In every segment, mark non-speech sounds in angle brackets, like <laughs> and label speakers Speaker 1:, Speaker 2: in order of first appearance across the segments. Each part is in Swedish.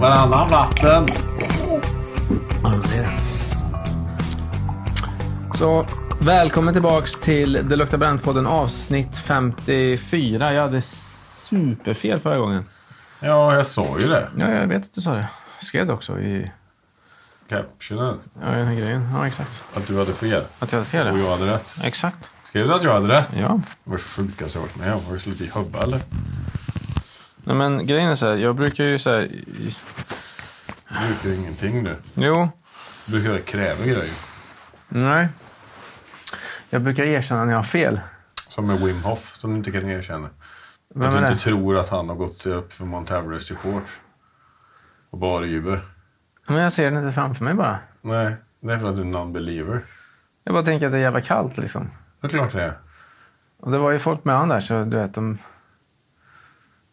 Speaker 1: mellan ratten.
Speaker 2: Ja, de säger det. Så, välkommen tillbaks till Det luktar bränt-podden avsnitt 54. Jag hade superfel förra gången.
Speaker 1: Ja, jag sa ju det.
Speaker 2: Ja, jag vet att du sa det. Skrev det också i
Speaker 1: Captionen.
Speaker 2: ja, i den här grejen. Ja, exakt.
Speaker 1: Att du hade fel.
Speaker 2: Att jag hade fel.
Speaker 1: Och
Speaker 2: ja.
Speaker 1: jag hade rätt.
Speaker 2: Exakt.
Speaker 1: Skrev du att jag hade rätt?
Speaker 2: Ja.
Speaker 1: Det var det sjukaste jag varit med om. Har du slut i hubba eller?
Speaker 2: Nej, men grejen är så här, jag brukar ju så här... i-
Speaker 1: Du brukar ju ingenting nu.
Speaker 2: Jo,
Speaker 1: Du brukar kräva grejer.
Speaker 2: nej. Jag brukar erkänna när jag har fel.
Speaker 1: Som med Wim Hof, som du inte kan erkänna.
Speaker 2: Vem
Speaker 1: att du
Speaker 2: är
Speaker 1: inte
Speaker 2: det?
Speaker 1: tror att han har gått upp för Mount Everest i shorts. Och bara jubel.
Speaker 2: Men jag ser den inte framför mig bara.
Speaker 1: Nej, det är för att du är non-believer.
Speaker 2: Jag bara tänker att det är jävla kallt liksom.
Speaker 1: Det är klart
Speaker 2: <laughs>
Speaker 1: det är.
Speaker 2: Och det var ju folk med han där, så du vet, de...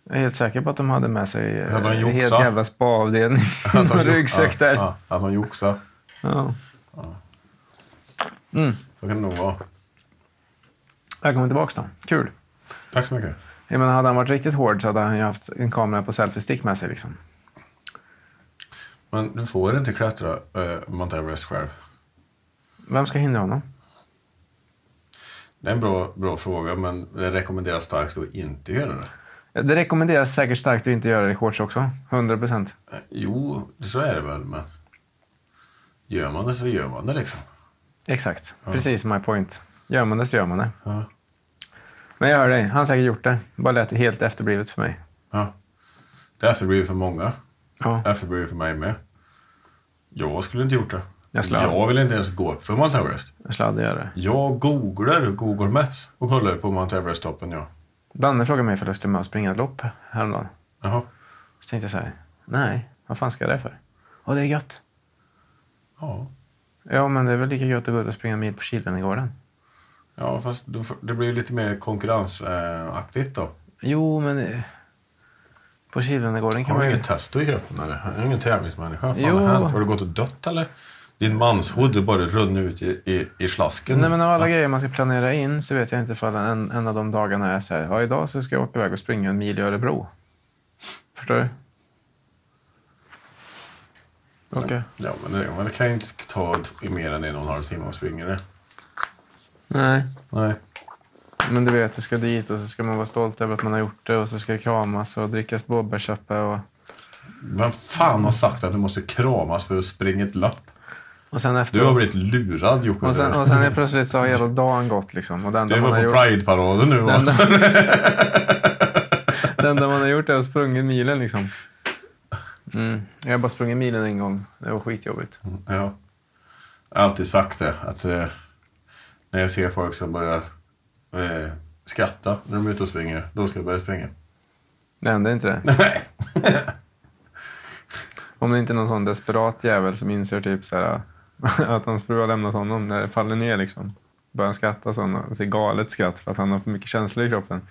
Speaker 2: Jag är helt säker på att de hade med sig eh,
Speaker 1: Hade de
Speaker 2: en helt
Speaker 1: joxat?
Speaker 2: jävla
Speaker 1: <laughs>
Speaker 2: spaavdelning <laughs>
Speaker 1: Att
Speaker 2: och
Speaker 1: han-
Speaker 2: ryggsäck
Speaker 1: ja,
Speaker 2: där. Ja.
Speaker 1: Ja, att han joxar. Så kan det nog vara.
Speaker 2: Välkommen tillbaka då. Kul.
Speaker 1: Tack så mycket.
Speaker 2: Jag menar, hade han varit riktigt hård så hade han ju haft en kamera på selfie-stick med sig. Liksom.
Speaker 1: Men du får inte klättra eh, Mount Everest själv.
Speaker 2: Vem ska hindra honom?
Speaker 1: Det är en bra, bra fråga, men det rekommenderas starkt att inte göra det.
Speaker 2: Det rekommenderas säkert starkt att inte göra det i shorts också. 100 procent.
Speaker 1: Eh, Jo, så är det väl, men gör man det så gör man det liksom.
Speaker 2: Exakt. Precis my point. Gör man det så gör man det.
Speaker 1: Ja.
Speaker 2: Men jag hör dig. Han har säkert gjort det. Bara lät helt efterblivet för mig.
Speaker 1: Ja. Det är efterblivet för många.
Speaker 2: Ja.
Speaker 1: Efterblivet för mig med. Jag skulle inte gjort det.
Speaker 2: Jag skulle aldrig.
Speaker 1: vill inte ens gå upp för Mount Everest.
Speaker 2: Jag sladdade göra det.
Speaker 1: Jag googlar Google Maps och kollar på Mount Everest-toppen, ja.
Speaker 2: Danne frågade mig ifall jag skulle med och springa ett lopp häromdagen.
Speaker 1: Jaha.
Speaker 2: Så tänkte jag så här, nej, vad fan ska jag det för? Åh, det är gött.
Speaker 1: Ja.
Speaker 2: Ja, men det är väl lika gött att gå ut och springa en mil på Kildenegården.
Speaker 1: Ja, fast då får- det blir ju lite mer konkurrensaktigt då.
Speaker 2: Jo, men eh, på Kildenegården kan
Speaker 1: Har du
Speaker 2: man
Speaker 1: inget testo i kroppen eller? Är du ingen tävlingsmänniska? Fan,
Speaker 2: Jo.
Speaker 1: har, hänt? har du gått och dött eller? Din manshood du bara runnit ut i, i, i slasken.
Speaker 2: Nej, men av alla grejer man ska planera in så vet jag inte ifall en, en av de dagarna är så här, ja, idag så ska jag åka iväg och springa en mil i Örebro. Förstår du? Okej.
Speaker 1: Ja, men det, men det kan ju inte ta t- mer än en och en halv timme att springa det.
Speaker 2: Nej.
Speaker 1: Nej.
Speaker 2: Men du vet, jag ska dit och så ska man vara stolt över att man har gjort det och så ska det kramas och drickas blåbärssoppa och...
Speaker 1: Vem fan har sagt att du måste kramas för att springa ett lopp?
Speaker 2: Och sen
Speaker 1: Du har
Speaker 2: efter...
Speaker 1: blivit lurad Jocke.
Speaker 2: Och sen, och sen är plötsligt så har hela dagen gått liksom. Och det enda
Speaker 1: Du
Speaker 2: man har
Speaker 1: var
Speaker 2: gjort-
Speaker 1: på Pride-paraden nu. va?
Speaker 2: <laughs> Det enda man har gjort är att sprungit milen liksom. Mm. Jag har bara sprungit milen en gång. Det var skitjobbigt.
Speaker 1: <laughs> Ja. Jag har alltid sagt det. Att, eh, när jag ser folk som börjar eh, skratta när de är ute och springer, då ska jag börja springa. <laughs>
Speaker 2: Det hände inte det.
Speaker 1: Nej.
Speaker 2: Om det inte är någon sån desperat jävel som inser typ så här, <laughs> att hans fru har lämnat honom när det faller ner liksom. Börjar skratta sån, och så galet skratt för att han har för mycket känslor i kroppen.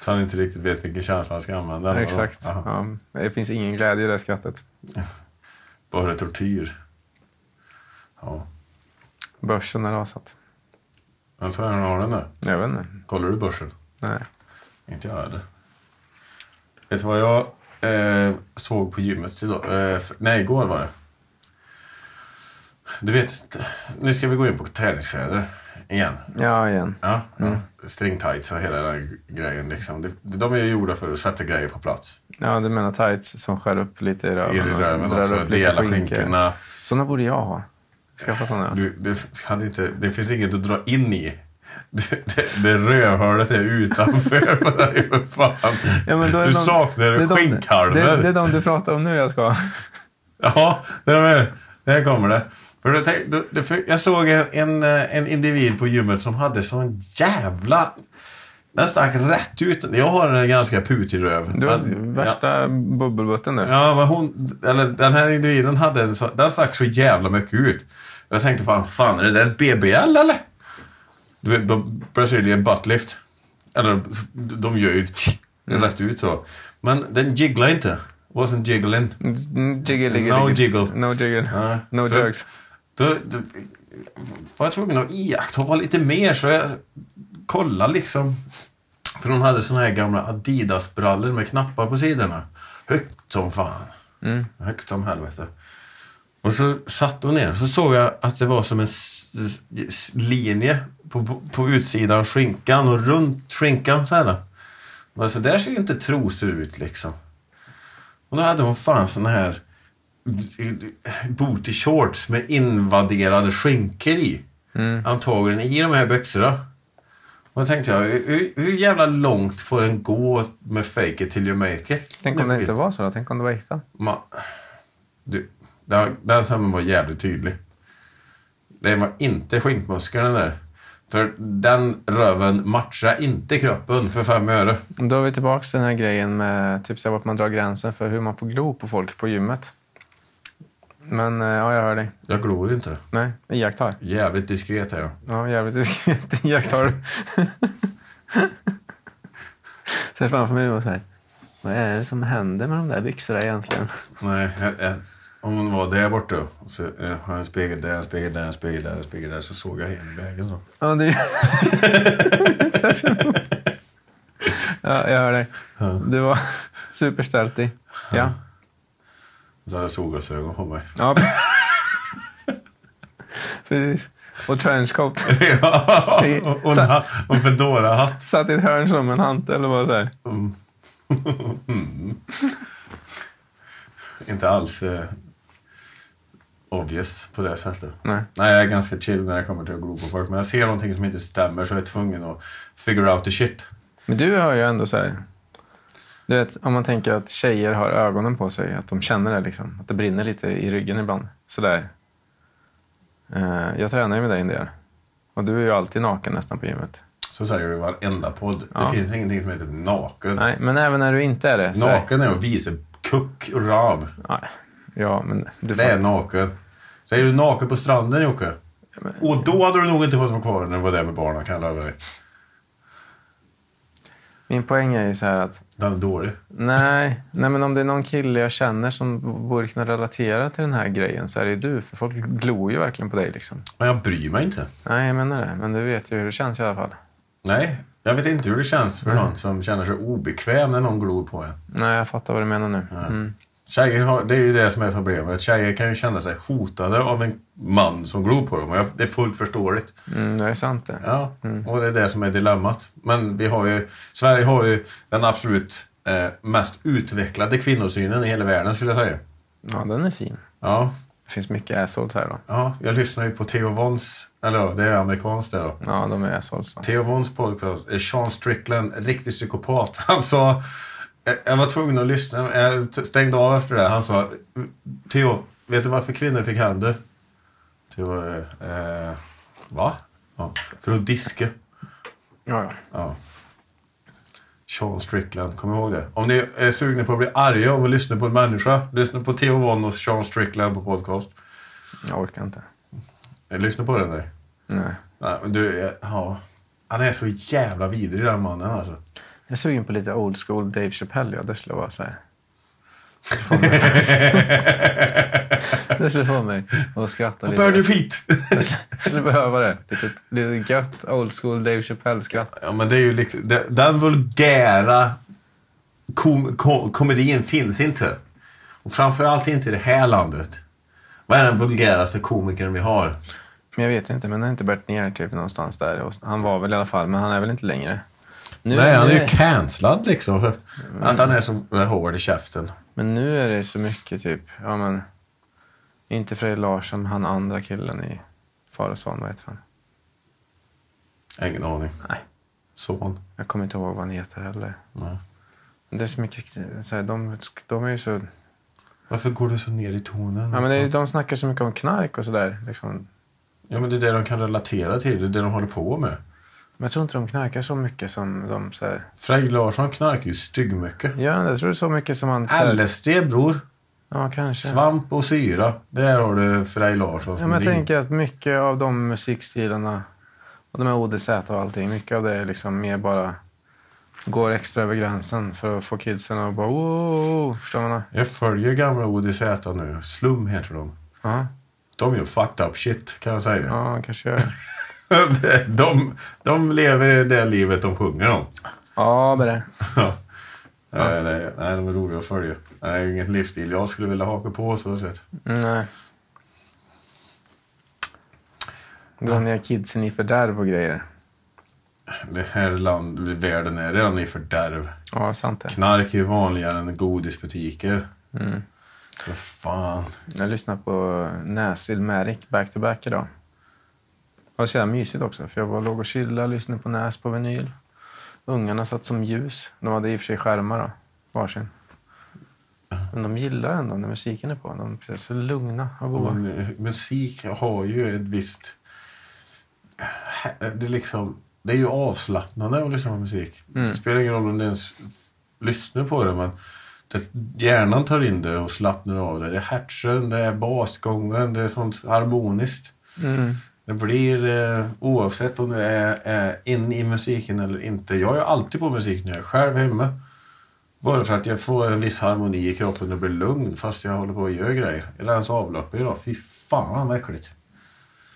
Speaker 1: Så han inte riktigt vet vilken känsla han ska använda.
Speaker 2: Ja, Exakt.
Speaker 1: Aha.
Speaker 2: Ja, det finns ingen glädje i det skrattet.
Speaker 1: Bara tortyr. Ja.
Speaker 2: Börsen har rasat.
Speaker 1: Men så är den har den där.
Speaker 2: Jag vet inte.
Speaker 1: Kollar du börsen?
Speaker 2: Nej.
Speaker 1: Inte jag heller. Vet du vad jag eh, såg på gymmet idag? Eh, f- nej, igår var det. Du vet, nu ska vi gå in på träningskläder igen.
Speaker 2: Ja, igen.
Speaker 1: Ja,
Speaker 2: Mm.
Speaker 1: ja. stringtights och hela den här grejen. Liksom. Det- De är ju gjorda för att sätta grejer på plats.
Speaker 2: Ja, du menar tights som skär upp lite i röven.
Speaker 1: I röven
Speaker 2: drar
Speaker 1: också,
Speaker 2: upp lite
Speaker 1: dela
Speaker 2: skinkor.
Speaker 1: skinkorna.
Speaker 2: Såna borde jag ha. Skaffa såna.
Speaker 1: Du, det, hade inte, det finns inget att dra in i. Det, det, det rövhålet är utanför. <laughs> men det är ju för fan.
Speaker 2: Ja, men då är det de-
Speaker 1: du
Speaker 2: det är
Speaker 1: saknar
Speaker 2: de-
Speaker 1: skinkhalvor.
Speaker 2: Det, det är de du pratar om nu jag ska ha.
Speaker 1: Ja, det är, där kommer det. För jag, tänkte, det- för jag såg en, en, eh, en individ på gymmet som hade sån jävla... Den stack rätt ut. Jag har en ganska putig röv. Alltså,
Speaker 2: Du har
Speaker 1: men- ja.
Speaker 2: värsta bubbelbutten nu.
Speaker 1: Ja, men hon, eller den här individen hade en så, den stack så jävla mycket ut. Jag tänkte fan, fan är det där ett BBL eller? Du vet, Bra- Brazilian buttlift. Eller de gör ju rätt ut så. Men den jigglar inte. Wasn't jiggling.
Speaker 2: Mm, Jiggle, ligger,
Speaker 1: No
Speaker 2: ligger.
Speaker 1: jiggle.
Speaker 2: No jiggle.
Speaker 1: Ja,
Speaker 2: no
Speaker 1: så-
Speaker 2: jerks.
Speaker 1: Då, då var jag tvungen att iaktta lite mer så jag kollade liksom. För hon hade såna här gamla Adidas-brallor med knappar på sidorna. Högt som fan.
Speaker 2: Mm.
Speaker 1: Högt som helvete. Och så satt hon ner. Så såg jag att det var som en s- s- linje på, på, på utsidan av skinkan och runt skinkan så här. Men så där ser ju inte trosor ut liksom. Och då hade hon fan såna här d- d- booty shorts med invaderade skinkor i. Antagligen i de här byxorna. Och då tänkte jag, hur, hur jävla långt får en gå med fake it till you make it?
Speaker 2: Tänk om det inte var så då? Tänk om det var äkta?
Speaker 1: Man, du, den, den sömmen var jävligt tydlig. Det var inte skinkmuskeln den där. För den röven matchar inte kroppen för fem öre.
Speaker 2: Då är vi tillbaka till den här grejen med typ så här, vart man drar gränsen för hur man får glo på folk på gymmet. Men eh, ja, jag hör dig.
Speaker 1: Jag glor inte.
Speaker 2: Nej, iakttar.
Speaker 1: Jävligt diskret är jag.
Speaker 2: Ja, jävligt diskret. <laughs> Iakttar du? Ser framför mig och så här. Vad är det som händer med de där byxorna egentligen?
Speaker 1: Nej, jag, jag, om hon var där borta och så eh, har jag en spegel där, en spegel där, en spegel där, en spegel där. Så såg jag hela vägen så.
Speaker 2: Ja, det... <laughs> ja, jag hör dig. Du var superstältig. Ja.
Speaker 1: Så hade jag solglasögon på mig.
Speaker 2: ja. <laughs> Precis. Och trenchcoat.
Speaker 1: ja, och, en ha- och en Fedora-hatt.
Speaker 2: Satt i ett hörn som en hantel och bara så här.
Speaker 1: Mm. <laughs> Inte alls eh, obvious på det sättet.
Speaker 2: Nej.
Speaker 1: Nej, jag är ganska chill när jag kommer till att glo på folk. Men jag ser någonting som inte stämmer så jag är tvungen att figure out the shit.
Speaker 2: Men du har ju ändå så här... Du vet, om man tänker att tjejer har ögonen på sig, att de känner det liksom. Att det brinner lite i ryggen ibland. Sådär. Uh, jag tränar ju med dig en del. Och du är ju alltid naken nästan på gymmet.
Speaker 1: Så säger du i varenda podd.
Speaker 2: Ja.
Speaker 1: Det finns ingenting som heter naken.
Speaker 2: Nej, men även när du inte är det. så-
Speaker 1: Naken är att visa kuck och rav.
Speaker 2: Nej. Ja, men du
Speaker 1: Det är
Speaker 2: får...
Speaker 1: naken. Säger du naken på stranden Jocke? Och då hade du nog inte fått vara kvar när du var där med barnen kan jag lova dig.
Speaker 2: Min poäng är ju så här att
Speaker 1: Den är dålig.
Speaker 2: nej, nej, men om det är någon kille jag känner som borde kunna relatera till den här grejen så är det ju du. För folk glor ju verkligen på dig liksom.
Speaker 1: Men jag bryr mig inte.
Speaker 2: Nej, jag menar det. Men du vet ju hur det känns i alla fall.
Speaker 1: Nej, jag vet inte hur det känns för någon som känner sig obekväm när någon glor på en.
Speaker 2: Nej, jag fattar vad du menar nu. Mm.
Speaker 1: Tjejer har, det är ju det som är problemet. Tjejer kan ju känna sig hotade av en man som glor på dem. Och jag, det är fullt förståeligt.
Speaker 2: Mm, det är sant det.
Speaker 1: Ja, och det är det som är dilemmat. Men vi har ju, Sverige har ju den absolut eh, mest utvecklade kvinnosynen i hela världen skulle jag säga.
Speaker 2: Ja, den är fin.
Speaker 1: Ja,
Speaker 2: Det finns mycket assholes här då.
Speaker 1: ja jag lyssnar ju på Theo Vons, eller ja, det är amerikanskt det då.
Speaker 2: Ja, de är assholes. Då.
Speaker 1: Theo Vons podcast är Sean Strickland, en riktig psykopat. <laughs> Han sa... jag- Jag var tvungen att lyssna. Jag t- stängde av efter det. Han sa... Theo, vet du varför kvinnor fick händer? Theo... Eh, va? Ja, för att diska.
Speaker 2: Ja, ja.
Speaker 1: Ja. Sean Strickland, kom ihåg det. Om ni är sugna på att bli arga av att lyssna på en människa, lyssna på Theo Von och Sean Strickland på podcast.
Speaker 2: Jag orkar inte.
Speaker 1: Eh, Lyssna på den där.
Speaker 2: Nej.
Speaker 1: Ja, Du, eh, ja. Han är så jävla vidrig den mannen alltså.
Speaker 2: Jag är sugen på lite old school Dave Chappelle. Ja, det skulle vara så här.
Speaker 1: <laughs>
Speaker 2: Det skulle få mig att skratta
Speaker 1: Bär nu
Speaker 2: lite.
Speaker 1: fit! <laughs>
Speaker 2: Jag skulle behöva det. Lite, lite gött old school Dave Chappelle-skratt.
Speaker 1: Ja, men det är ju liksom, det, den vulgära kom, kom, komedin finns inte. Och framförallt inte i det här landet. Vad är den vulgäraste komikern vi har?
Speaker 2: Men jag vet inte, men han har inte bärt ner typ någonstans där. Och Han var väl i alla fall, men han är väl inte längre. Nu,
Speaker 1: Nej, han är ju
Speaker 2: nu-
Speaker 1: cancellad liksom. För att han är så hård i käften.
Speaker 2: Men nu är det så mycket typ, ja men, inte Frej Larsson, han andra killen i Faresson, vad heter han?
Speaker 1: Ingen aning.
Speaker 2: Nej.
Speaker 1: Son.
Speaker 2: Jag kommer inte ihåg vad han heter heller.
Speaker 1: Nej.
Speaker 2: Det är så mycket, så här, de, de är ju så,
Speaker 1: Varför går du så ner i tonen?
Speaker 2: ja men det är, ju- de snackar så mycket om knark och sådär liksom.
Speaker 1: ja, men det är det de kan relatera till. Det är det de håller på med.
Speaker 2: Men jag tror inte de knarkar så mycket som de så här,
Speaker 1: Frej Larsson knarkar ju styggmycket.
Speaker 2: gör han det? Jag tror det är så mycket som han... så här-
Speaker 1: LSD bror.
Speaker 2: Ja, kanske.
Speaker 1: Svamp och syra. Där har du Frej Larsson
Speaker 2: Ja,
Speaker 1: som
Speaker 2: men jag
Speaker 1: din.
Speaker 2: tänker att mycket av de musikstilarna och de här ODZ och allting, mycket av det är liksom mer bara går extra över gränsen för att få kidsen att bara wow, förstår man?
Speaker 1: Jag följer gamla ODZ nu. Slum heter de.
Speaker 2: Ja,
Speaker 1: De gör fucked up shit kan jag säga. <laughs>
Speaker 2: ja, kanske gör det.
Speaker 1: de, de lever det livet de sjunger om. <laughs>
Speaker 2: Ja, det är det.
Speaker 1: Ja. Eh, nej, nej, de är roliga att följa. Nej, inget livsstil jag skulle vilja haka på så sett.
Speaker 2: Mm, Nej. Dra ner kidsen i fördärv och grejer.
Speaker 1: Det här land, världen är redan i fördärv.
Speaker 2: Ja, sant det.
Speaker 1: Knark är ju vanligare än godisbutiker.
Speaker 2: Mm.
Speaker 1: För fan.
Speaker 2: Jag lyssnade på Näsil Märik back to back idag. Det var så jävla mysigt också, för jag var låg och chillade, lyssnade på Näs på vinyl. Ungarna satt som ljus. De hade i och för sig skärmar då, varsin. Men de gillar ändå när musiken är på. De är så lugna och goa.
Speaker 1: Och, eh, musik har ju ett visst... Det är, liksom, det är ju avslappnande att lyssna på musik. Det spelar ingen roll om du ens lyssnar på det, men det, hjärnan tar in det och slappnar av det. Det är hertsen, det är basgången, det är sånt harmoniskt.
Speaker 2: Mm.
Speaker 1: Det blir eh, oavsett om det är eh, in i musiken eller inte. Jag är alltid på musik när jag är själv hemma. Bara för att jag får en viss harmoni i kroppen och blir lugn fast jag håller på och gör grejer. Jag rensade avloppet idag. Fy fan vad äckligt.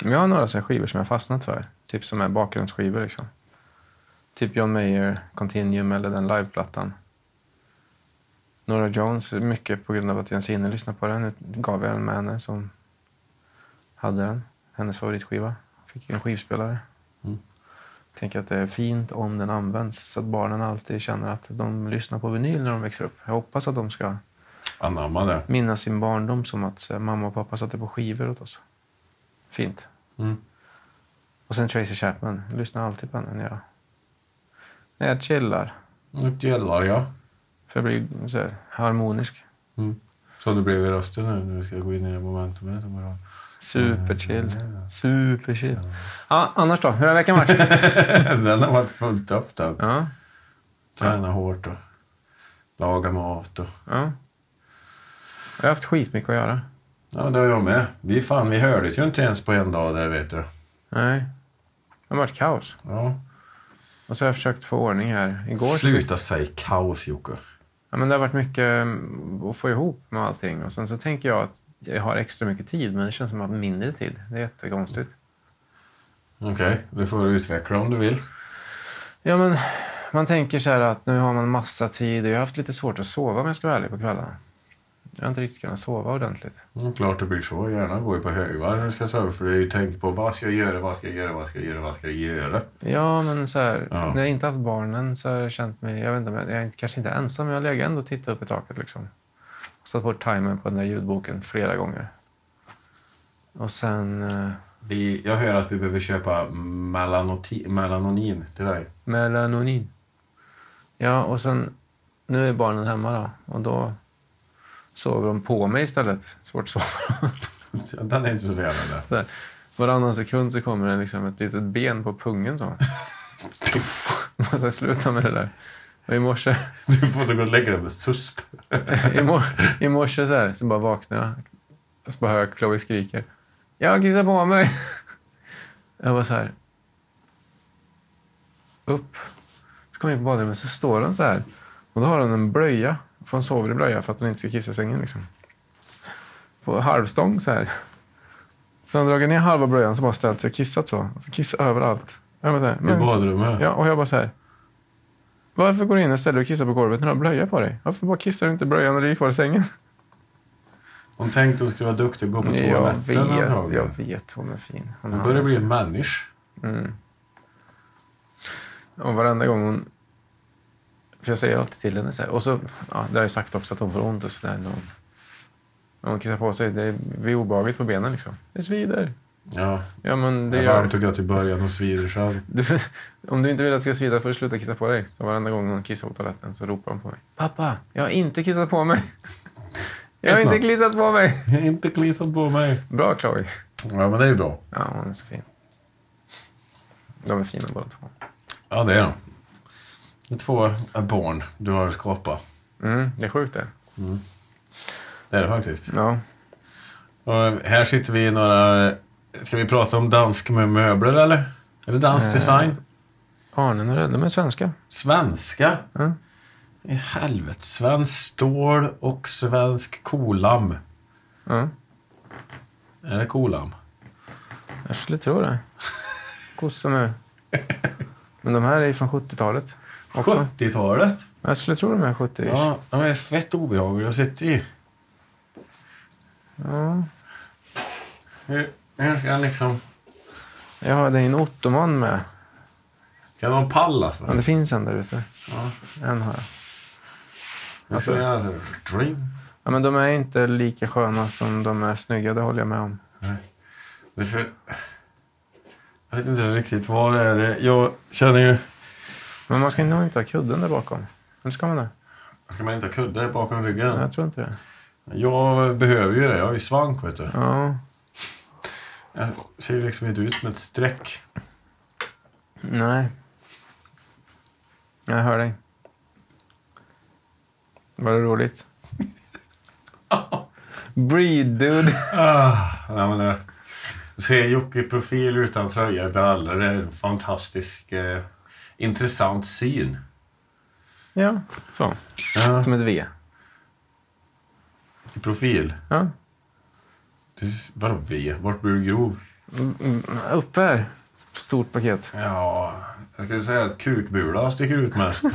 Speaker 2: Men jag har några så här skivor som jag har fastnat för. Typ som är bakgrundsskivor. Liksom. Typ John Mayer, Continuum eller den liveplattan. Nora Jones, mycket på grund av att Jens Inne lyssnade på den. Nu gav jag den med henne som hade den. Hennes favoritskiva. Fick en skivspelare.
Speaker 1: Mm.
Speaker 2: Tänker att det är fint om den används så att barnen alltid känner att de lyssnar på vinyl när de växer upp. Jag hoppas att de ska
Speaker 1: Anamma det.
Speaker 2: minnas sin barndom som att så här, mamma och pappa satte på skivor åt oss. Fint.
Speaker 1: Mm.
Speaker 2: Och sen Tracy Chapman. Jag lyssnar alltid på henne när jag, när jag chillar.
Speaker 1: Det gillar jag.
Speaker 2: För jag blir så här harmonisk.
Speaker 1: Mm. Så det blev i rösten nu när vi ska gå in i det momentumet. om bara-
Speaker 2: Superchill.
Speaker 1: Mm.
Speaker 2: Superchill. Ja, annars då? Hur har veckan
Speaker 1: <laughs>
Speaker 2: varit?
Speaker 1: <laughs> den har varit fullt upp den.
Speaker 2: Ja,
Speaker 1: Träna hårt och laga mat och
Speaker 2: ja. Jag har haft skitmycket att göra.
Speaker 1: Ja, det har jag med. Vi fan, vi hördes ju inte ens på en dag där, vet du.
Speaker 2: Nej. Det har varit kaos.
Speaker 1: Ja.
Speaker 2: Och så har jag försökt få ordning här. Igår...
Speaker 1: Sluta säga kaos, Jocke.
Speaker 2: Ja, men det har varit mycket mm, att få ihop med allting. Och sen så tänker jag att jag har extra mycket tid, men det känns som att jag har mindre tid. Det är jättekonstigt.
Speaker 1: Okej, det får du utveckla om du vill.
Speaker 2: Ja, men man tänker så här att nu har man massa tid. Jag har haft lite svårt att sova om jag ska vara ärlig på kvällarna. Jag har inte riktigt kunnat sova ordentligt.
Speaker 1: Mm, klart det blir så. Hjärnan går ju på högvarv när du ska sova. För du är ju tänkt på vad ska jag göra, vad ska jag göra, vad ska jag göra, vad ska jag göra.
Speaker 2: Ja, men så här,
Speaker 1: Ja.
Speaker 2: när jag inte haft barnen så har jag känt mig, jag vet inte, om jag jag är inte- kanske inte ensam, men jag har legat ändå och tittat upp i taket liksom. Och satt bort timern på den där ljudboken flera gånger. Och sen eh,
Speaker 1: Vi, jag hör att vi behöver köpa melanoti, melanonin till dig.
Speaker 2: melanonin. Ja, och sen, nu är barnen hemma då och då sover de på mig istället. Svårt att sova.
Speaker 1: Så Den är inte så jävla lätt.
Speaker 2: Så här, varannan sekund så kommer det liksom ett litet ben på pungen. Så. Man ska <laughs> sluta med det där. Och i morse,
Speaker 1: Du får inte gå och lägga dig med susp.
Speaker 2: <laughs> i mor- i morse så, här, så bara vaknade jag. Och så bara hör jag Chloe skriker. Jag kissar på mig. <laughs> Jag var så här. Upp. Så kom jag in på badrummet så står hon så här. Och då har hon en blöja. För hon sover i blöja för att hon inte ska kissa i sängen. Liksom. På halvstång så här. Så hon drar ner halva blöjan så bara ställt sig och kissat så. Och så Kissar överallt. Jag bara så här,
Speaker 1: I
Speaker 2: men-
Speaker 1: badrummet.
Speaker 2: Ja, och jag bara så här. Varför går du in och ställer dig och kissar på golvet när du har blöja på dig? Varför bara kissar du inte i blöjan när du är kvar i sängen?
Speaker 1: Hon tänkte hon skulle vara duktig och gå på
Speaker 2: Jag
Speaker 1: toaletten
Speaker 2: vet,
Speaker 1: antagligen.
Speaker 2: jag vet. Hon är fin. Hon
Speaker 1: Hon
Speaker 2: har-
Speaker 1: börjar bli en människa.
Speaker 2: Mm. Och varenda gång hon... För jag säger alltid till henne så här. Och så, ja, det har jag sagt också att hon får ont och sådär. När hon, när hon kissar på sig. Det blir obehagligt på benen liksom. Det svider.
Speaker 1: Ja.
Speaker 2: Ja, men det
Speaker 1: Det är
Speaker 2: gör...
Speaker 1: varmt och gött i början och svider själv.
Speaker 2: Du, om du inte vill att det ska svida får du sluta kissa på dig. Så varenda gång hon kissar på toaletten så ropar hon på mig. Pappa, jag har inte kissat på mig. Jag har inte kissat på mig.
Speaker 1: Jag har inte klitat på mig.
Speaker 2: Bra Chloe.
Speaker 1: Ja, men det är ju bra.
Speaker 2: Ja, hon är så fin. De är fina båda två.
Speaker 1: Ja, det är de. Det är två barn du har skapat.
Speaker 2: Mm, det är sjukt det.
Speaker 1: Det är det faktiskt.
Speaker 2: Ja.
Speaker 1: Och här sitter vi i några... Ska vi prata om dansk med möbler eller? Är det dansk design?
Speaker 2: Arne och Rödde, de är svenska.
Speaker 1: Svenska?
Speaker 2: Mm.
Speaker 1: I helvete. Svensk stål och svensk kolam.
Speaker 2: Ja,
Speaker 1: Är det kolam?
Speaker 2: jag skulle tro det. Kossa nu. Men de här är ju från 70-talet. också.
Speaker 1: 70-talet.
Speaker 2: Jag skulle tro de är 70 -ish.
Speaker 1: Ja, de är fett obehagliga att sitta i.
Speaker 2: Ja.
Speaker 1: Hur, hur ska han liksom...
Speaker 2: Jag hade en ottoman med.
Speaker 1: Kan de palla så?
Speaker 2: Men det finns en där ute.
Speaker 1: Ja.
Speaker 2: En har jag.
Speaker 1: Jag skulle gärna säga... "String."
Speaker 2: Ja, men de är inte lika sköna som de är snygga, det håller jag med om.
Speaker 1: Det är för... Jag vet inte riktigt vad det är. det- Jag känner ju...
Speaker 2: Men man ska nog inte ha kudden där bakom. Eller ska man det?
Speaker 1: Ska man inte ha kudde bakom
Speaker 2: Nej,
Speaker 1: ryggen?
Speaker 2: jag tror inte det.
Speaker 1: Jag behöver ju det. Jag har ju svank, vet du.
Speaker 2: Ja.
Speaker 1: Jag ser ju liksom inte ut som ett streck.
Speaker 2: Nej. Jag hör dig. Var det roligt? <laughs> Breed, dude.
Speaker 1: Ah, nej, men det... Se Jocke i profil utan tröja i brallor. Det är en fantastisk, eh, intressant syn.
Speaker 2: Ja, så.
Speaker 1: Ja,
Speaker 2: Som ett V.
Speaker 1: i profil.
Speaker 2: Ja.
Speaker 1: Du, vadå V? Vart blir du grov?
Speaker 2: Mm, mm, Uppe här. Stort paket.
Speaker 1: Ja, jag skulle säga att kukbulan sticker ut mest. <laughs>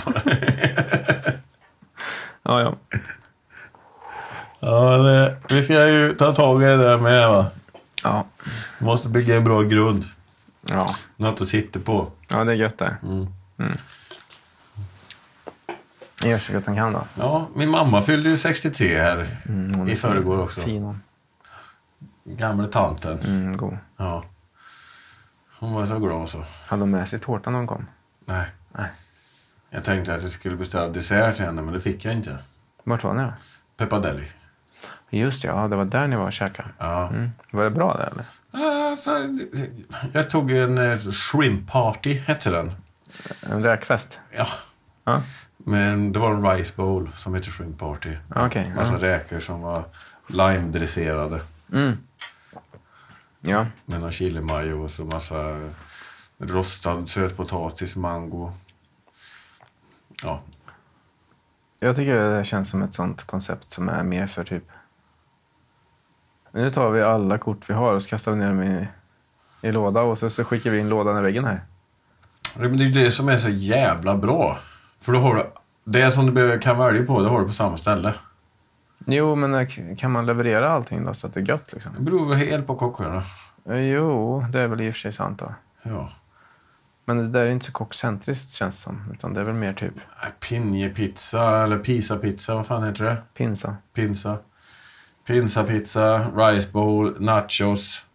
Speaker 2: Ja, ja.
Speaker 1: ja, det, vi ska ju ta tag i det där med va.
Speaker 2: Ja.
Speaker 1: Vi måste bygga en bra grund.
Speaker 2: Ja,
Speaker 1: Något att sitta på.
Speaker 2: ja det är gött det.
Speaker 1: Mm.
Speaker 2: Jag gör så gott han kan då.
Speaker 1: Ja, min mamma fyllde ju 63 här
Speaker 2: Mm, hon är
Speaker 1: i förrgår också.
Speaker 2: Fin hon.
Speaker 1: Gamle tanten.
Speaker 2: Mm, god.
Speaker 1: Ja. Hon var så glad så.
Speaker 2: Hade hon med sig tårta när hon kom?
Speaker 1: Nej.
Speaker 2: Nej.
Speaker 1: Jag tänkte att jag skulle beställa dessert till henne, men det fick jag inte.
Speaker 2: Vart var ni då?
Speaker 1: Peppadelli.
Speaker 2: Just det, ja, det var där ni var och käkade.
Speaker 1: Ja.
Speaker 2: Mm. Var det bra det eller?
Speaker 1: Alltså, jag tog en eh, shrimp party, hette den.
Speaker 2: En räkfest?
Speaker 1: Ja.
Speaker 2: Ja,
Speaker 1: Men det var en rice bowl som heter shrimp party.
Speaker 2: Ja, okej.
Speaker 1: Massa räkor som var lime-dresserade
Speaker 2: Ja. Mm. ja.
Speaker 1: med någon chilimajo och så massa rostad sötpotatis, mango. Ja,
Speaker 2: Jag tycker det där känns som ett sånt koncept som är mer för typ... Nu tar vi alla kort vi har och så kastar vi ner dem i, i låda och så, så skickar vi in lådan i väggen här.
Speaker 1: Ja, men Det är det som är så jävla bra. För då har du, det som du behöver- kan välja på, det har du på samma ställe.
Speaker 2: Jo, men eh, k- kan man leverera allting då så att det är gött liksom?
Speaker 1: Det beror väl helt på kockarna.
Speaker 2: Eh, Jo, det är väl i och för sig sant då.
Speaker 1: Ja.
Speaker 2: Men det där är inte så kockcentriskt känns det som. Utan det är väl mer typ
Speaker 1: Nej, Äh, Pinjepizza eller pisapizza, vad fan heter det?
Speaker 2: pinsa.
Speaker 1: Pinsa. Pinsapizza, rice bowl, nachos,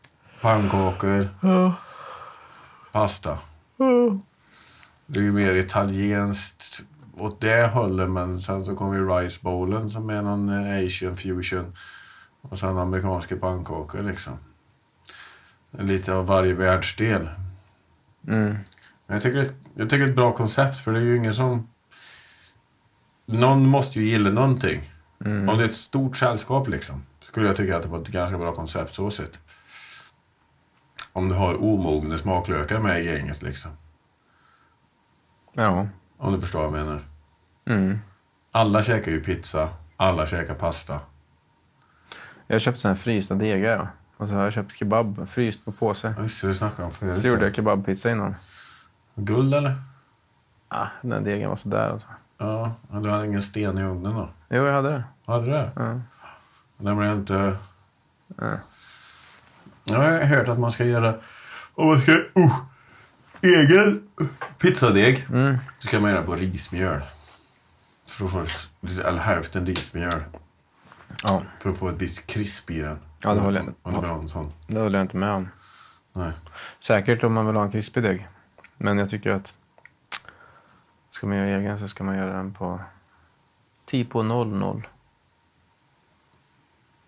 Speaker 1: pannkakor, pasta. Det är ju mer italienskt åt det hållet, men sen så kommer ju rice bowlen som är någon eh, asian fusion. Och sen amerikanska pannkakor liksom. Lite av varje världsdel.
Speaker 2: Mm.
Speaker 1: Men Jag tycker, det- jag tycker det är ett bra koncept för det är ju ingen som... Någon måste ju gilla någonting.
Speaker 2: Mm.
Speaker 1: Om det är ett stort sällskap liksom. Skulle jag tycka att det var ett ganska bra koncept så sett. Om du har omogna smaklökar med i gänget liksom.
Speaker 2: Ja.
Speaker 1: Om du förstår vad jag menar.
Speaker 2: Mm.
Speaker 1: Alla käkar ju pizza. Alla käkar pasta.
Speaker 2: Jag har köpt såna här frysta degar. Ja. Och så har jag köpt kebab, fryst på påse.
Speaker 1: Ja, Just det, det snackade om förut.
Speaker 2: Så gjorde jag kebabpizza innan.
Speaker 1: Guld eller?
Speaker 2: Ah, den där degen var sådär. Alltså.
Speaker 1: Ja, men du hade ingen sten i ugnen då?
Speaker 2: Jo, jag hade det.
Speaker 1: Hade du det?
Speaker 2: Ja.
Speaker 1: Den blev inte...
Speaker 2: Ja.
Speaker 1: Jag har hört att man ska göra... Om man ska... Uh, egen pizzadeg.
Speaker 2: Mm.
Speaker 1: Så ska man göra på rismjöl. För att få ett, eller hälften rismjöl.
Speaker 2: Ja,
Speaker 1: För att få ett visst krisp i den.
Speaker 2: Ja, det håller jag med.
Speaker 1: Om du vill ha en sån.
Speaker 2: det håller jag inte med om.
Speaker 1: Nej.
Speaker 2: Säkert om man vill ha en krispig deg. Men jag tycker att ska man göra egen så ska man göra den på 10 på 00.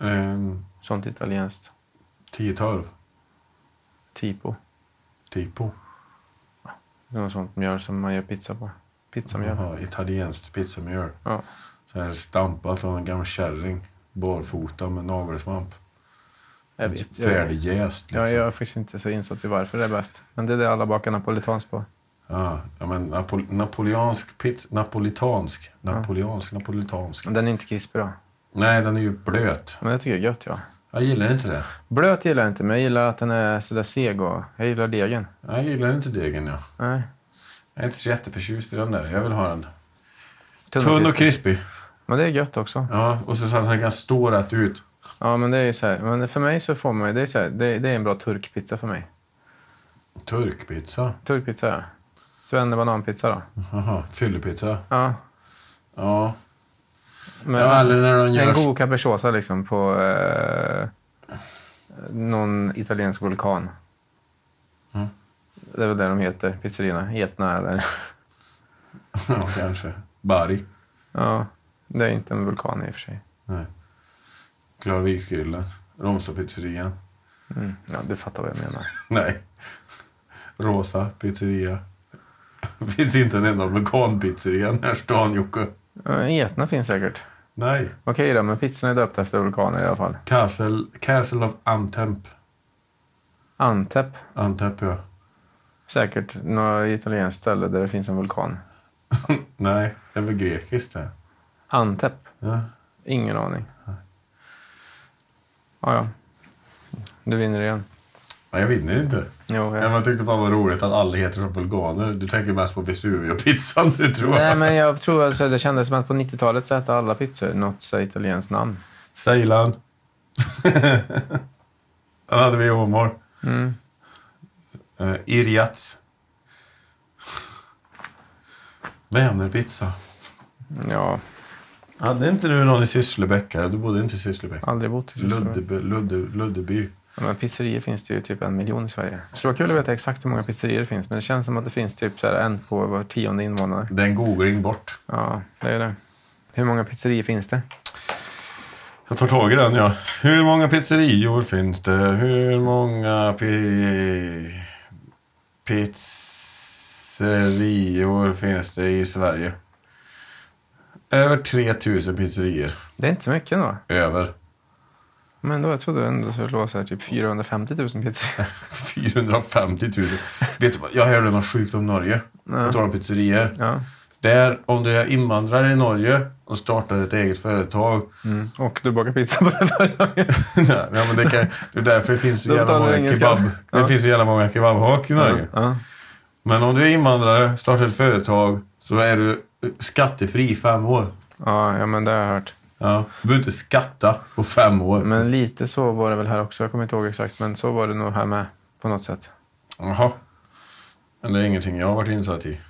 Speaker 1: Ehm,
Speaker 2: Sånt italienskt.
Speaker 1: 10-12
Speaker 2: Tipo.
Speaker 1: tipo.
Speaker 2: Det är något sånt mjöl som man gör pizza på. Pizzamjöl.
Speaker 1: Jaha, italienskt pizzamjöl.
Speaker 2: Ja.
Speaker 1: Så här stampat av en gammal kärring. Barfota med nagelsvamp.
Speaker 2: Jag, vet, jag, jag,
Speaker 1: Färdigjäst liksom.
Speaker 2: jag är faktiskt inte så insatt i varför det är bäst. Men det är det alla bakar napolitans på.
Speaker 1: Ja, ja men napol napoleansk pizza. Napolitansk. Napoleansk, napolitansk.
Speaker 2: Men den är inte krispig då.
Speaker 1: Nej, den är ju blöt.
Speaker 2: Men jag tycker det är gött ja.
Speaker 1: Jag gillar inte det.
Speaker 2: Blöt gillar jag inte, men jag gillar att den är sådär seg och jag gillar degen.
Speaker 1: Jag gillar inte degen, ja.
Speaker 2: Nej.
Speaker 1: Jag Jag är inte så jätteförtjust i den där. Jag vill ha en
Speaker 2: Tunn
Speaker 1: tunn och
Speaker 2: krispig.
Speaker 1: krispig.
Speaker 2: Men det är gött också.
Speaker 1: Ja, och så så att den kan stå rätt ut.
Speaker 2: Ja, men det är ju så här. Men för mig så får man ju- det är så här, det, det är en bra turkpizza för mig.
Speaker 1: Turkpizza.
Speaker 2: Turkpizza, ja. Svenne bananpizza då.
Speaker 1: Jaha, fyllepizza.
Speaker 2: Ja.
Speaker 1: Ja.
Speaker 2: Men,
Speaker 1: ja, eller när de
Speaker 2: en
Speaker 1: gör...
Speaker 2: god capricciosa liksom på eh, någon italiensk vulkan.
Speaker 1: Mm.
Speaker 2: Det är väl det de heter, pizzerierna. Etna eller...
Speaker 1: <laughs> ja, kanske. Bari.
Speaker 2: Ja, det är inte en vulkan i och för sig.
Speaker 1: Nej. Klarviksgrillen. Romstapizzerian.
Speaker 2: Mm. Ja, du fattar vad jag menar.
Speaker 1: Nej. Rosa pizzeria. <laughs> Det finns inte en enda veganpizzeria i den här stan, Jocke.
Speaker 2: Eh, Etna finns säkert.
Speaker 1: Nej.
Speaker 2: Okej då, men pizzorna är döpta efter vulkaner i alla fall.
Speaker 1: Castle, Castle of Antemp.
Speaker 2: Antep,
Speaker 1: Antemp, ja.
Speaker 2: säkert något italienskt ställe där det finns en vulkan.
Speaker 1: <laughs> Nej, det är väl grekiskt det.
Speaker 2: Antep?
Speaker 1: Ja.
Speaker 2: Ingen aning. Ja, ja. Du vinner igen.
Speaker 1: Nej, jag vinner inte.
Speaker 2: Jo,
Speaker 1: Men
Speaker 2: jag...
Speaker 1: jag tyckte fan var roligt att alla heter som bulganer. Du tänker mest på Vesuvio-pizzan nu tror jag.
Speaker 2: Nej, men jag tror alltså det kändes som att på 90-talet så hette alla pizzor något så här italienskt namn. <laughs>
Speaker 1: Ceylan. Den hade vi i Åmål.
Speaker 2: Mm.
Speaker 1: Eh, Irjats. Vänerpizza.
Speaker 2: Ja,
Speaker 1: Hade inte du någon i Sysslebäck? här? Du bodde inte i Sysslebäck.
Speaker 2: aldrig bott i Tyskland.
Speaker 1: Ludde, Ludde, Luddeby.
Speaker 2: Ja, men pizzerier finns det ju typ en miljon i Sverige. Det skulle vara kul att veta exakt hur många pizzerier det finns, men det känns som att det finns typ så här en på var tionde invånare.
Speaker 1: Det är en googling bort.
Speaker 2: Ja, det är det. Hur många pizzerier finns det?
Speaker 1: Jag tar tag i den ja. Hur många pizzerior finns det? Hur många pi... pizzerior finns det i Sverige? Över 3000 pizzerior.
Speaker 2: Det är inte så mycket ändå.
Speaker 1: Över
Speaker 2: Men då, jag trodde ändå så det låg så här typ 450 000 pizzor.
Speaker 1: 450 000. Vet du vad? Jag hörde något sjukt om Norge.
Speaker 2: Ja.
Speaker 1: På tal om pizzerior.
Speaker 2: Ja.
Speaker 1: Där, om du är invandrare i Norge och startar ett eget företag. <laughs>
Speaker 2: Mm. Och du bakar pizza på det förra gången.
Speaker 1: Nej, men det, kan, det är därför det finns så
Speaker 2: Då
Speaker 1: jävla
Speaker 2: betalar du
Speaker 1: många
Speaker 2: ingen
Speaker 1: kebab...
Speaker 2: skatt.
Speaker 1: Det
Speaker 2: Ja.
Speaker 1: finns så jävla många kebabhak i Norge.
Speaker 2: Ja.
Speaker 1: Men om du är invandrare, startar ett företag, så är du skattefri i fem år.
Speaker 2: Ja, ja, men det har jag hört.
Speaker 1: Ja. Du behöver inte skatta på fem år.
Speaker 2: Men lite så var det väl här också. Jag kommer inte ihåg exakt, men så var det nog här med på något sätt.
Speaker 1: Jaha. Men det är ingenting jag har varit insatt i.